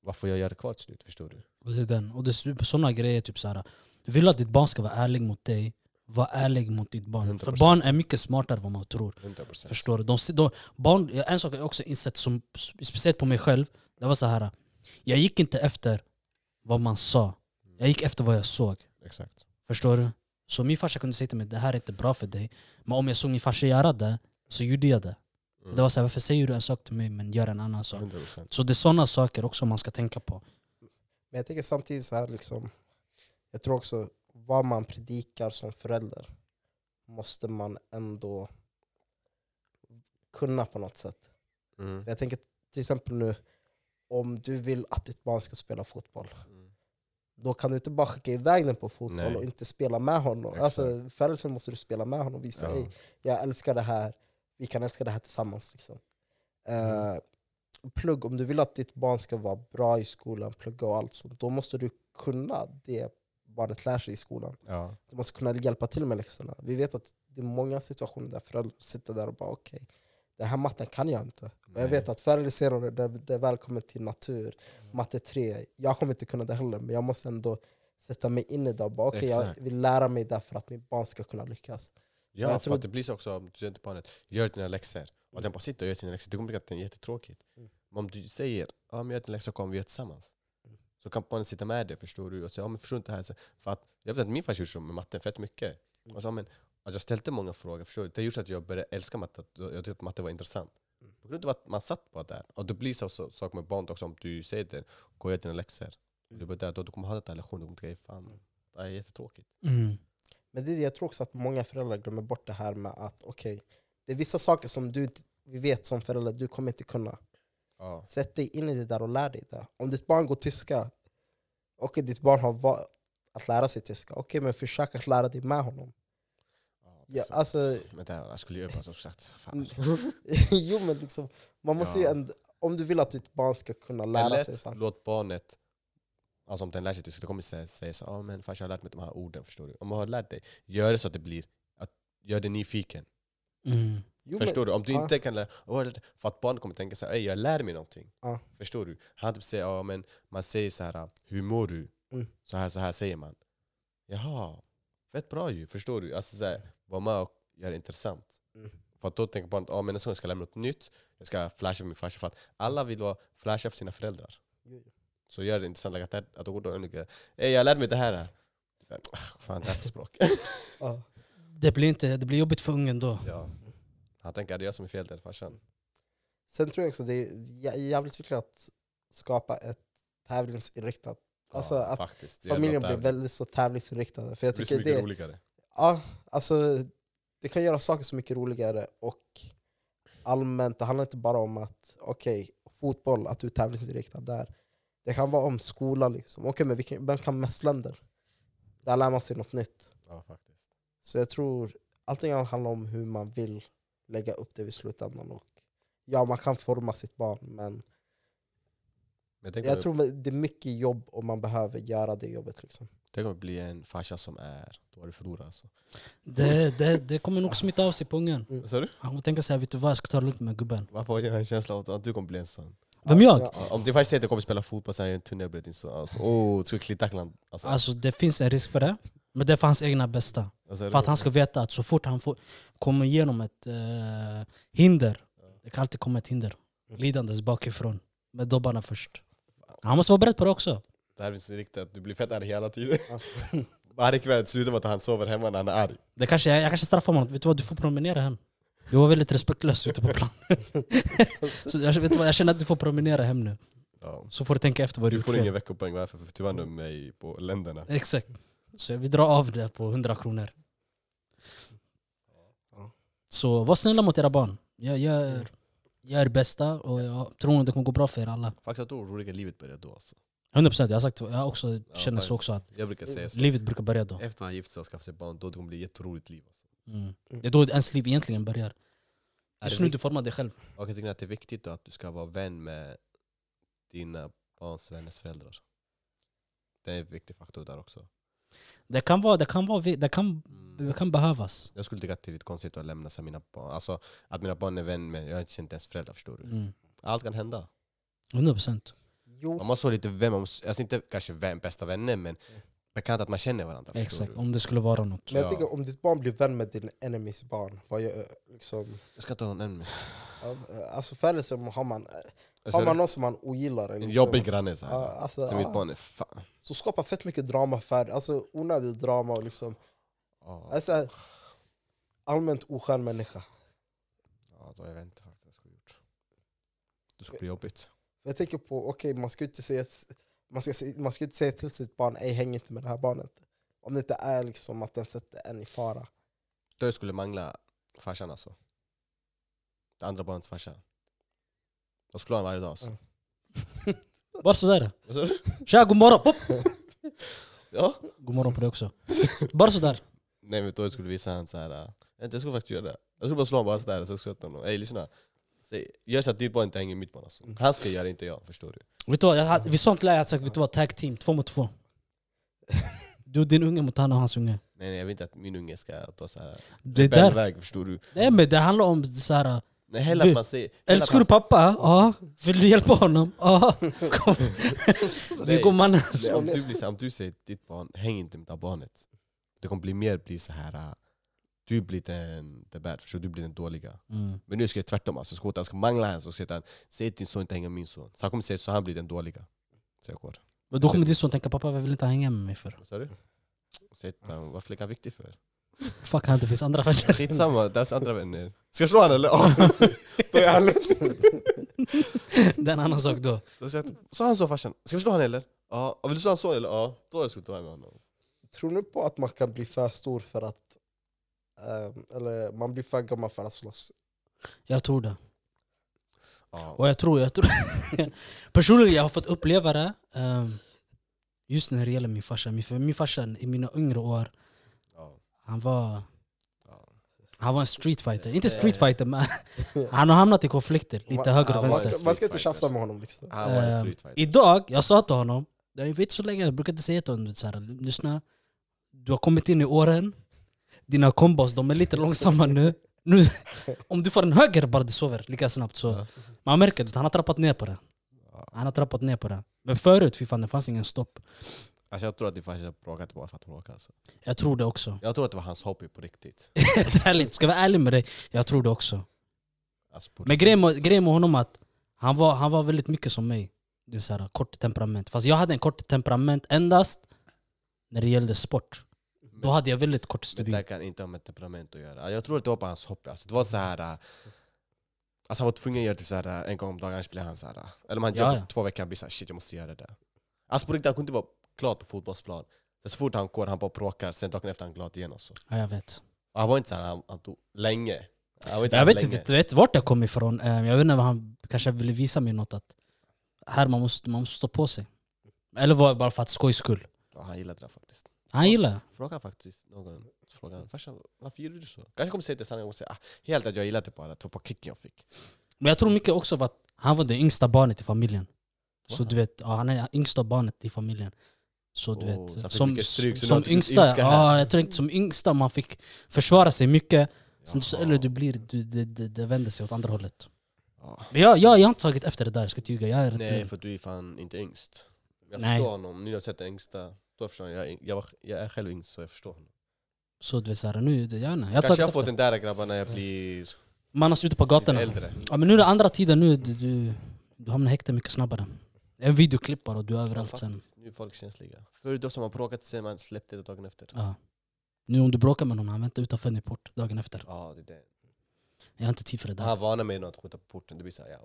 S3: vad får jag göra kvar till slut? Förstår du?
S2: Och det är den. Och det är sådana grejer, typ såhär. Vill du att ditt barn ska vara ärlig mot dig, var ärlig mot ditt barn. För
S3: 100%.
S2: barn är mycket smartare än vad man tror.
S3: 100%.
S2: Förstår du? De, de, barn, en sak har jag också insett, som, speciellt på mig själv, det var så här. Jag gick inte efter vad man sa. Jag gick efter vad jag såg.
S3: Exakt.
S2: Förstår du? Så min farsa kunde säga till mig det här är inte bra för dig. Men om jag såg min farsa göra det, så gjorde jag det.
S3: Mm.
S2: Det var så här, varför säger du en sak till mig men gör en annan sak?
S3: 100%.
S2: Så det är sådana saker också man ska tänka på.
S1: Men jag tänker samtidigt så här liksom, jag tror också vad man predikar som förälder måste man ändå kunna på något sätt.
S3: Mm.
S1: Jag tänker till exempel nu, om du vill att ditt barn ska spela fotboll,
S3: Mm.
S1: då kan du inte bara skicka iväg den på fotboll
S3: Nej.
S1: och inte spela med honom.
S3: Exakt.
S1: Alltså, förr så måste du spela med honom och visa
S3: Ja.
S1: "Ey, jag älskar det här, vi kan älska det här tillsammans. Liksom. Eh, plugg, om du vill att ditt barn ska vara bra i skolan, plugga och allt sånt, då måste du kunna det barnet lär sig i skolan.
S3: Ja.
S1: Du måste kunna hjälpa till med läxorna. Vi vet att det är många situationer där föräldrar sitter där och bara okej, den här matten kan jag inte. Och jag
S3: Nej.
S1: vet att förr eller senare, det, det är välkommen till natur,
S3: Mm.
S1: matte 3, jag kommer inte kunna det heller, men jag måste ändå sätta mig in i det och bara okej, jag
S3: Exakt.
S1: vill lära mig det för att mitt barn ska kunna lyckas.
S3: Ja,
S1: Jag
S3: för
S1: tror-
S3: att det blir så också, om du säger till barnet, gör dina läxor. Och den bara sitter och gör sina läxor, du kommer tycka att det är jättetråkigt.
S1: Mm.
S3: Men om du säger, ja men gör dina läxor så kommer vi göra tillsammans.
S1: Mm.
S3: Så kan barnet sitta med dig, förstår du? Och säga, ja men förstår du inte det här? Så- För att, jag vet att min farsa gjorde så med matten fett mycket.
S1: Mm.
S3: Och så, ja, men, att jag ställde många frågor, förstår du? Det gjorde så att jag började älska matte, att jag tyckte att matte var intressant.
S1: Mm.
S3: På grund av att man satt bara där. Och det blir så, så sak med barnet också, om du säger det, gå och gör dina läxor. Och Du
S1: Mm.
S3: bara där, då du kommer ha den här lektionen, du kommer tänka, fan, det här är jättetråkigt.
S2: Mm.
S1: Men det, jag tror också att många föräldrar glömmer bort det här med att okej, det är vissa saker som du inte- vi vet som förälder, du kommer inte kunna.
S3: Ja.
S1: Sätt dig in i det där och lär dig det. Om ditt barn går tyska, och ditt barn har va- att lära sig tyska, okej men försök att lära dig med honom. (laughs)
S3: det är
S1: Ja,
S3: sant.
S1: alltså- Mm.
S3: Men det här, jag skulle ju öva som sagt. Fan. (laughs)
S1: jo men liksom, man måste ju
S3: Ja.
S1: ändå, om du vill att ditt barn ska kunna lära
S3: Eller
S1: sig saker.
S3: låt barnet, alltså om den lär sig tyska, det kommer säga, säga så ah, men farsan jag har lärt mig de här orden, förstår du? Om man har lärt dig, gör det så att det blir, att, gör det nyfiken.
S2: Mm.
S1: Jo,
S3: förstår du? Om du
S1: ja.
S3: inte kan lära "Åh, det- för att barnet kommer tänka så här, "Ey, jag lär mig någonting.
S1: Ja.
S3: Förstår du? Han typ säger, ah, men man säger så här, hur mår du?
S1: Mm.
S3: Så här, så här säger man. Jaha, fett bra ju, förstår du? Alltså så här, var med och gör det intressant.
S1: Mm.
S3: För att då tänker barnet, ah, men nästa gång ska jag lära mig något nytt, jag ska flasha med min farsa. För att alla vill vara flasha för sina föräldrar.
S1: men,
S3: Så gör det intressant like, att, att de går och olika, Ey jag lärde mig det här. Typ, ah, Fan, det här är för språk.
S1: ja.
S2: Det blir, inte, det blir jobbigt för ungen då.
S3: (laughs) Ja. Han tänker, är det jag som är fel eller farsan?
S1: Sen tror jag också det är jä- jävligt viktigt att skapa ett tävlingsinriktat. Alltså att
S3: faktiskt. Det gäller
S1: Familjen
S3: att
S1: blir
S3: tävla.
S1: väldigt så tävlingsinriktade. För jag
S3: Det blir så
S1: tycker
S3: mycket
S1: det,
S3: roligare.
S1: ja, alltså, det kan göra saker så mycket roligare och allmänt, det handlar inte bara om att okej, fotboll, att du är tävlingsinriktad där. Det kan vara om skola, liksom. okej men vilken, vem kan mest länder? Där lär man sig något nytt.
S3: Ja, faktiskt.
S1: Så jag tror allting handlar om hur man vill lägga upp det i slutändan. Och, ja, man kan forma sitt barn, men
S3: Men jag tänker
S1: jag
S3: jag
S1: tror det är mycket jobb om man behöver göra det jobbet. Liksom.
S3: Tänk om det blir en farsa som är... Då har du förlorat alltså.
S2: Det, det, det kommer nog smitta av sig på ungen.
S3: Vad sa du?
S2: Han kommer tänka så här, vet du vad, jag ska ta det lugnt med gubben.
S3: Varför har jag en känsla av att du kommer bli en sån?
S2: Vem jag?
S1: Ja,
S3: Om din farsa säger att jag kommer spela fotboll sen är jag en tunnelbredd din son. Alltså, oh, du ska klittackla honom. Alltså,
S2: Alltså det finns en risk för det. Men det är för hans egna bästa.
S3: alltså,
S2: För att han ska veta att så fort han får, kommer igenom ett eh, hinder, det kan alltid komma ett hinder,
S3: Mm.
S2: lidandes bakifrån, med dobbarna först. Han måste vara beredd på det också.
S3: Det här är inte riktigt att du blir fett arg hela tiden.
S1: Ja.
S3: (laughs) Varje kväll slutar med att han sover hemma när han är arg.
S2: Det kanske, jag kanske straffar honom, vet du vad, du får promenera hem. Du var väldigt respektlös ute på planen. (laughs) så jag, vet du vad, jag känner att du får promenera hem nu,
S3: Ja.
S2: så får du tänka efter vad du,
S3: Du
S2: gjort
S3: får
S2: fel.
S3: ingen veckopoäng varför? För du vann med mig på länderna.
S2: Exakt. Så vi drar av det på 100 kronor.
S1: Ja.
S2: Så var snälla mot era barn. Jag gör, gör det bästa och jag tror nog det kommer gå bra för er alla.
S3: Faktiskt jag tror roliga livet börjar då alltså.
S2: 100% jag har sagt jag har också känner
S3: faktiskt.
S2: så också att
S3: Jag brukar säga så.
S2: livet brukar börja då.
S3: Efter man gift sig och skaffat sig barn, då det kommer bli ett jätteroligt liv. Alltså.
S2: Mm. Det är då ens liv egentligen börjar. Just
S3: det
S2: nu
S3: vikt-
S2: du formar dig själv.
S3: Och jag tycker att det är viktigt då att du ska vara vän med dina barns vänners föräldrar. Det är en viktig faktor där också. Mm.
S2: Det kan, vara, det, kan vara, vi- det, kan, det kan behövas.
S3: Jag skulle tycka att det är lite konstigt att lämna sig mina barn. Alltså att mina barn är vän med, jag har inte ens föräldrar förstår du.
S2: Mm.
S3: Allt kan hända.
S2: 100%.
S1: Jo,
S3: Man måste ha lite vän, man måste, alltså inte kanske vän, bästa vänner men bekant att man känner varandra. förstår
S2: Exakt,
S3: du?
S2: om det skulle vara något.
S1: men jag
S3: Ja.
S1: tänker om ditt barn blir vän med din enemies barn, vad gör, liksom,
S3: Jag ska ta någon än.
S1: ja, alltså föräldrar som har man,
S3: Alltså,
S1: har man någon som man ogillar,
S3: En
S1: liksom,
S3: jobbig granne så
S1: ja,
S3: här.
S1: alltså,
S3: Så mitt
S1: ja,
S3: barn är fan.
S1: så skapar fett mycket drama för, alltså onödigt drama och liksom,
S3: Ja,
S1: alltså, allmänt oskön människa.
S3: ja, då jag vet inte faktiskt vad jag skulle gjort. Det skulle bli jobbigt.
S1: Jag tänker på, okej man ska ju inte säga, man ska, se- man ska ju inte säga till sitt barn, ej häng inte med det här barnet. Om det inte är liksom att den sätter en i fara. (laughs)
S3: Då jag skulle mangla farsan alltså. Det andra barnets farsa. Jag skulle ha honom varje dag alltså.
S1: Mm.
S2: Bara sådär.
S3: Vad sa du?
S2: Tja, god morgon! Pop!
S3: (laughs) Ja.
S2: God morgon på dig också. Bara sådär.
S3: Nej men då jag skulle visa han så här. äh, vänta, Jag skulle faktiskt göra det. Jag skulle bara slå honom bara sådär och så skulle jag sätta honom. Ey lyssna. Säg- Gör så att ditt barn inte hänger i mitt barn alltså.
S1: Mm.
S3: Han ska göra det, inte jag. Förstår du?
S2: Vet du vad, jag hade, vid sånt läge hade jag sagt vet du vad, tag team, två mot
S3: (laughs)
S2: två. Du och din unge mot han och hans unge.
S3: Nej, nej jag vill inte att min unge ska ta så här
S2: Det är
S3: rebellväg,
S2: där.
S3: förstår du?
S2: Nej men det handlar om så här.
S3: Nej hellre
S2: Du,
S3: att man säger... hellre att
S2: älskar du
S3: han-
S2: pappa? Ja. Vill du hjälpa honom? Ja.
S3: (laughs)
S2: Kom. Vi
S3: Nej.
S2: går mannen.
S3: Nej, om, du blir, så här, om du säger till ditt barn, häng inte med det här barnet. Det kommer bli mer bli så här. äh, Du blir den the bad, förstår du? Du blir den dåliga.
S2: Mm.
S3: Men nu ska jag tvärtom alltså, ska jag ska mangla honom så säger han Säg till din son inte hänga med min son. Så han kommer säga så han blir den dåliga. Så jag går.
S2: Men då kommer din son tänka pappa vad vill inte han hänga med mig för?
S3: Vad sa du? Och Säg till honom, varför är han viktig för?
S2: Fuck han, det finns andra vänner. (laughs)
S3: Skitsamma, deras andra vänner. Ska jag slå honom eller? Ja. (laughs) Då är han lugn.
S2: Det är en annan sak då.
S3: Så säger jag, Sa han så farsan? Ska vi slå honom eller? Ja. Och Vill du slå hans son eller? Ja. Då har jag suttit här med honom.
S1: Tror ni på att man kan bli för stor för att, ehm, eller man blir för gammal för att slåss?
S2: Jag tror det.
S3: Ja.
S2: Och jag tror, jag tror... (laughs) Personligen jag har fått uppleva det. ehm, just när det gäller min farsa. Min, för min farsa i mina yngre år,
S3: ja.
S2: han var...
S3: Ja.
S2: Han var en streetfighter. Inte
S3: Eh.
S2: streetfighter men (laughs) han har hamnat i konflikter. Lite
S1: Man-
S2: höger och
S3: han var-
S2: vänster.
S1: Man, man ska inte
S3: Fighter.
S1: tjafsa med honom liksom.
S3: Han var en
S2: Ehm,
S3: streetfighter.
S2: Idag, jag sa till honom, jag vet så länge, jag brukar inte säga till honom, så här, lyssna, du har kommit in i åren, dina kombos de är lite långsamma nu. nu om du får en höger bara du sover lika snabbt så.
S3: Ja.
S2: Man märker att han har trappat ner på det.
S3: Ja.
S2: Han har trappat ner på det. Men förut, fy fan, det fanns ingen stopp.
S3: Alltså, jag tror att din farsa bråkade bara för att bråka. Alltså.
S2: Jag tror det
S3: (laughs)
S2: också.
S3: Jag tror att det var hans hobby på riktigt.
S2: Helt ärligt, ska jag vara ärlig med dig, jag tror det också.
S3: Alltså, på
S2: Men grejen med, grejen med honom att han var, han var väldigt mycket som mig. Det är så här, kort temperament. Fast jag hade en kort temperament endast när det gällde sport.
S3: riktigt.
S2: Då hade jag väldigt kort
S3: Men det där
S2: stubin.
S3: kan inte ha med temperament att göra. Jag tror att det var på hans hobby. Alltså, det var så här... äh, Alltså han var tvungen att göra typ så här äh, en gång om dagen, annars blir han så här. äh, Eller om han
S2: Ja,
S3: gör
S2: ja.
S3: det två veckor, han blir såhär shit jag måste göra det. Alltså på riktigt, han kunde inte vara glad på fotbollsplan. Så fort han går, han bara bråkar, sen dagen efter är han glad igen och så.
S2: Ja, jag vet.
S3: Och han var inte såhär, han, han tog länge. Han var inte
S2: Jag
S3: här
S2: vet
S3: länge.
S2: inte jag vet vart jag kom ifrån. Eh, Jag vet inte vad han kanske ville visa mig något. Att här man måste man måste stå på sig. Eller var det bara för att skojs skull.
S3: Ja, han gillade det där faktiskt.
S2: Han gillar det.
S3: Fråga faktiskt någon. Fråga, han, farsan varför gjorde du så? Kanske kommer säga det sen, jag kommer säga ah, helt att jag gillade det bara, det var på kicken jag fick.
S2: Men jag tror mycket också var att han var det yngsta barnet i familjen. Så
S3: Wow.
S2: du vet, ja, han är yngsta barnet i familjen. Så du
S3: Oh, så han
S2: vet,
S3: fick
S2: som,
S3: mycket stryk, så nu har
S2: som
S3: han typ
S2: yngsta,
S3: ilska här.
S2: ja, jag tror inte som yngsta man fick försvara sig mycket. Sen, så,
S3: Jaha.
S2: eller du blir, du, det, det, det vänder sig åt andra hållet.
S3: Ja.
S2: Men jag, jag, jag har inte tagit efter det där, jag ska inte ljuga. Jag är rätt
S3: Nej
S2: nöjd.
S3: för du är fan inte yngst. Jag
S2: Nej.
S3: förstår honom, nu när jag har sett den yngsta, då förstår jag. Jag, är- jag, var, jag är själv yngst så jag förstår honom.
S2: Så du vet såhär, nu, det- jag, vet inte, jag har tagit
S3: Kanske jag
S2: efter.
S3: får den där grabbar när jag blir
S2: Man är ute på
S3: lite
S2: gatorna.
S3: äldre.
S2: Ja, men nu är det andra tider nu, du, du, du hamnar i häkte mycket snabbare. En videoklippare och du är överallt sen.
S3: Faktiskt, Nu är folk känsliga. Förut då som man bråkat sen man släppte det dagen efter.
S2: Ja. Nu om du bråkar med någon, han väntar utanför din port dagen efter.
S3: Ja, det är det.
S2: Jag har inte tid för det där.
S3: Han varnar mig nu att skjuta på porten, det blir såhär ja.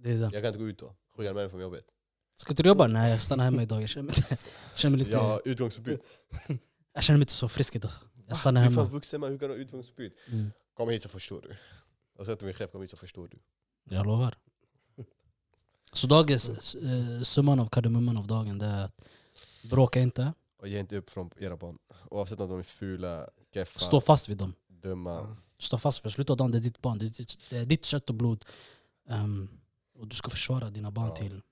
S2: Det är det.
S3: Jag kan inte gå ut då, skjuta med mig från jobbet.
S2: Ska inte du jobba? Nej, jag stannar hemma idag. Jag känner mig inte,
S3: (laughs)
S2: jag känner mig lite,
S3: Jag har utgångsförbud.
S2: jag känner mig inte så frisk idag. Jag stannar
S3: Du är fan
S2: hemma.
S3: vuxen man, hur kan du ha utgångsförbud?
S2: Mm.
S3: Kom hit så förstår du. Jag sa till min chef, kom hit så förstår du.
S2: Jag lovar. Så dagens, eh, summan av kardemumman av dagen det är att bråka inte,
S3: Och ge inte upp från era barn. Oavsett om de är fula, keffa,
S2: stå fast vid dem.
S3: dumma.
S2: Stå fast för slutet av dagen, det är ditt barn, det är ditt, det är ditt kött och blod. Ehm, och du ska försvara dina barn
S3: Ja.
S2: till,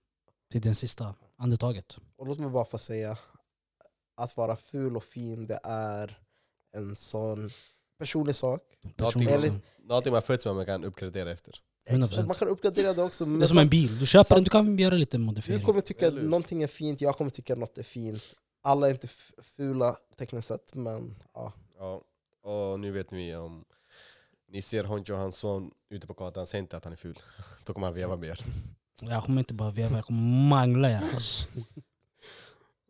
S2: till det sista andetaget.
S1: Och låt mig bara få säga, att vara ful och fin det är en sån personlig sak.
S3: Någonting,
S2: Personligen.
S1: Enligt-
S3: någonting man föds med man kan uppgradera efter.
S2: 100%.
S1: Man kan uppgradera det också.
S2: Det är som en bil, du köper
S1: Sam-
S2: den, du kan göra lite
S1: Du
S2: modifiering.
S1: kommer tycka att
S3: Eller hur?
S1: någonting är fint, jag kommer tycka att något är fint. Alla är inte f- fula tekniskt sett, men ja.
S3: Ja. Och nu vet ni om ni ser Honcho och hans son ute på gatan, säg inte att han är ful. (laughs) Då kommer han veva med er.
S2: Jag kommer inte bara veva, jag kommer mangla er. Alltså.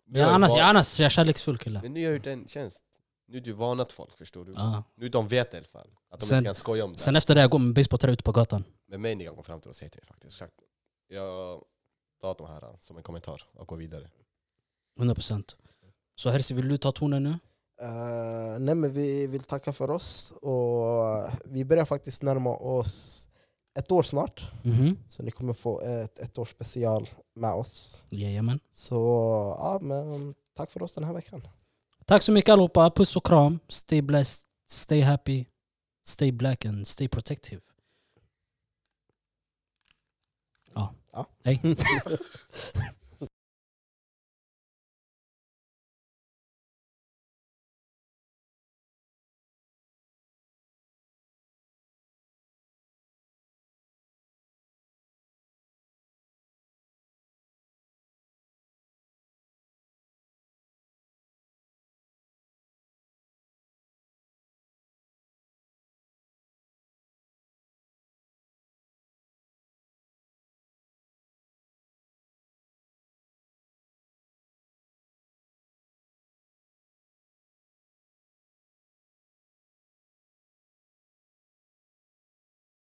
S3: Nu
S2: Jag,
S3: har du
S2: annars,
S3: van-
S2: jag, annars, jag är kärleksfull kille.
S3: Men nu har jag gjort en tjänst. Nu är du vanat folk, förstår du.
S2: Ja.
S3: Nu de vet i alla fall. Att de
S2: Sen-
S3: inte kan skoja om det.
S2: Sen efter det jag går med basebollträ ut på gatan.
S3: Men mig ni kan gå fram till och säga till mig faktiskt. Exakt. Jag tar de här som en kommentar och går vidare.
S2: 100%. Så Herzi, vill du ta tonen nu?
S1: Eh, nej, men vi vill tacka för oss och vi börjar faktiskt närma oss ett år snart.
S2: Mhm.
S1: Så ni kommer få ett, ett års special med oss.
S2: Jajamän.
S1: Så ja, men tack för oss den här veckan.
S2: Tack så mycket allihopa. Puss och kram. Stay blessed, stay happy, stay black and stay protective. Ja.
S1: Ja.
S2: Hej.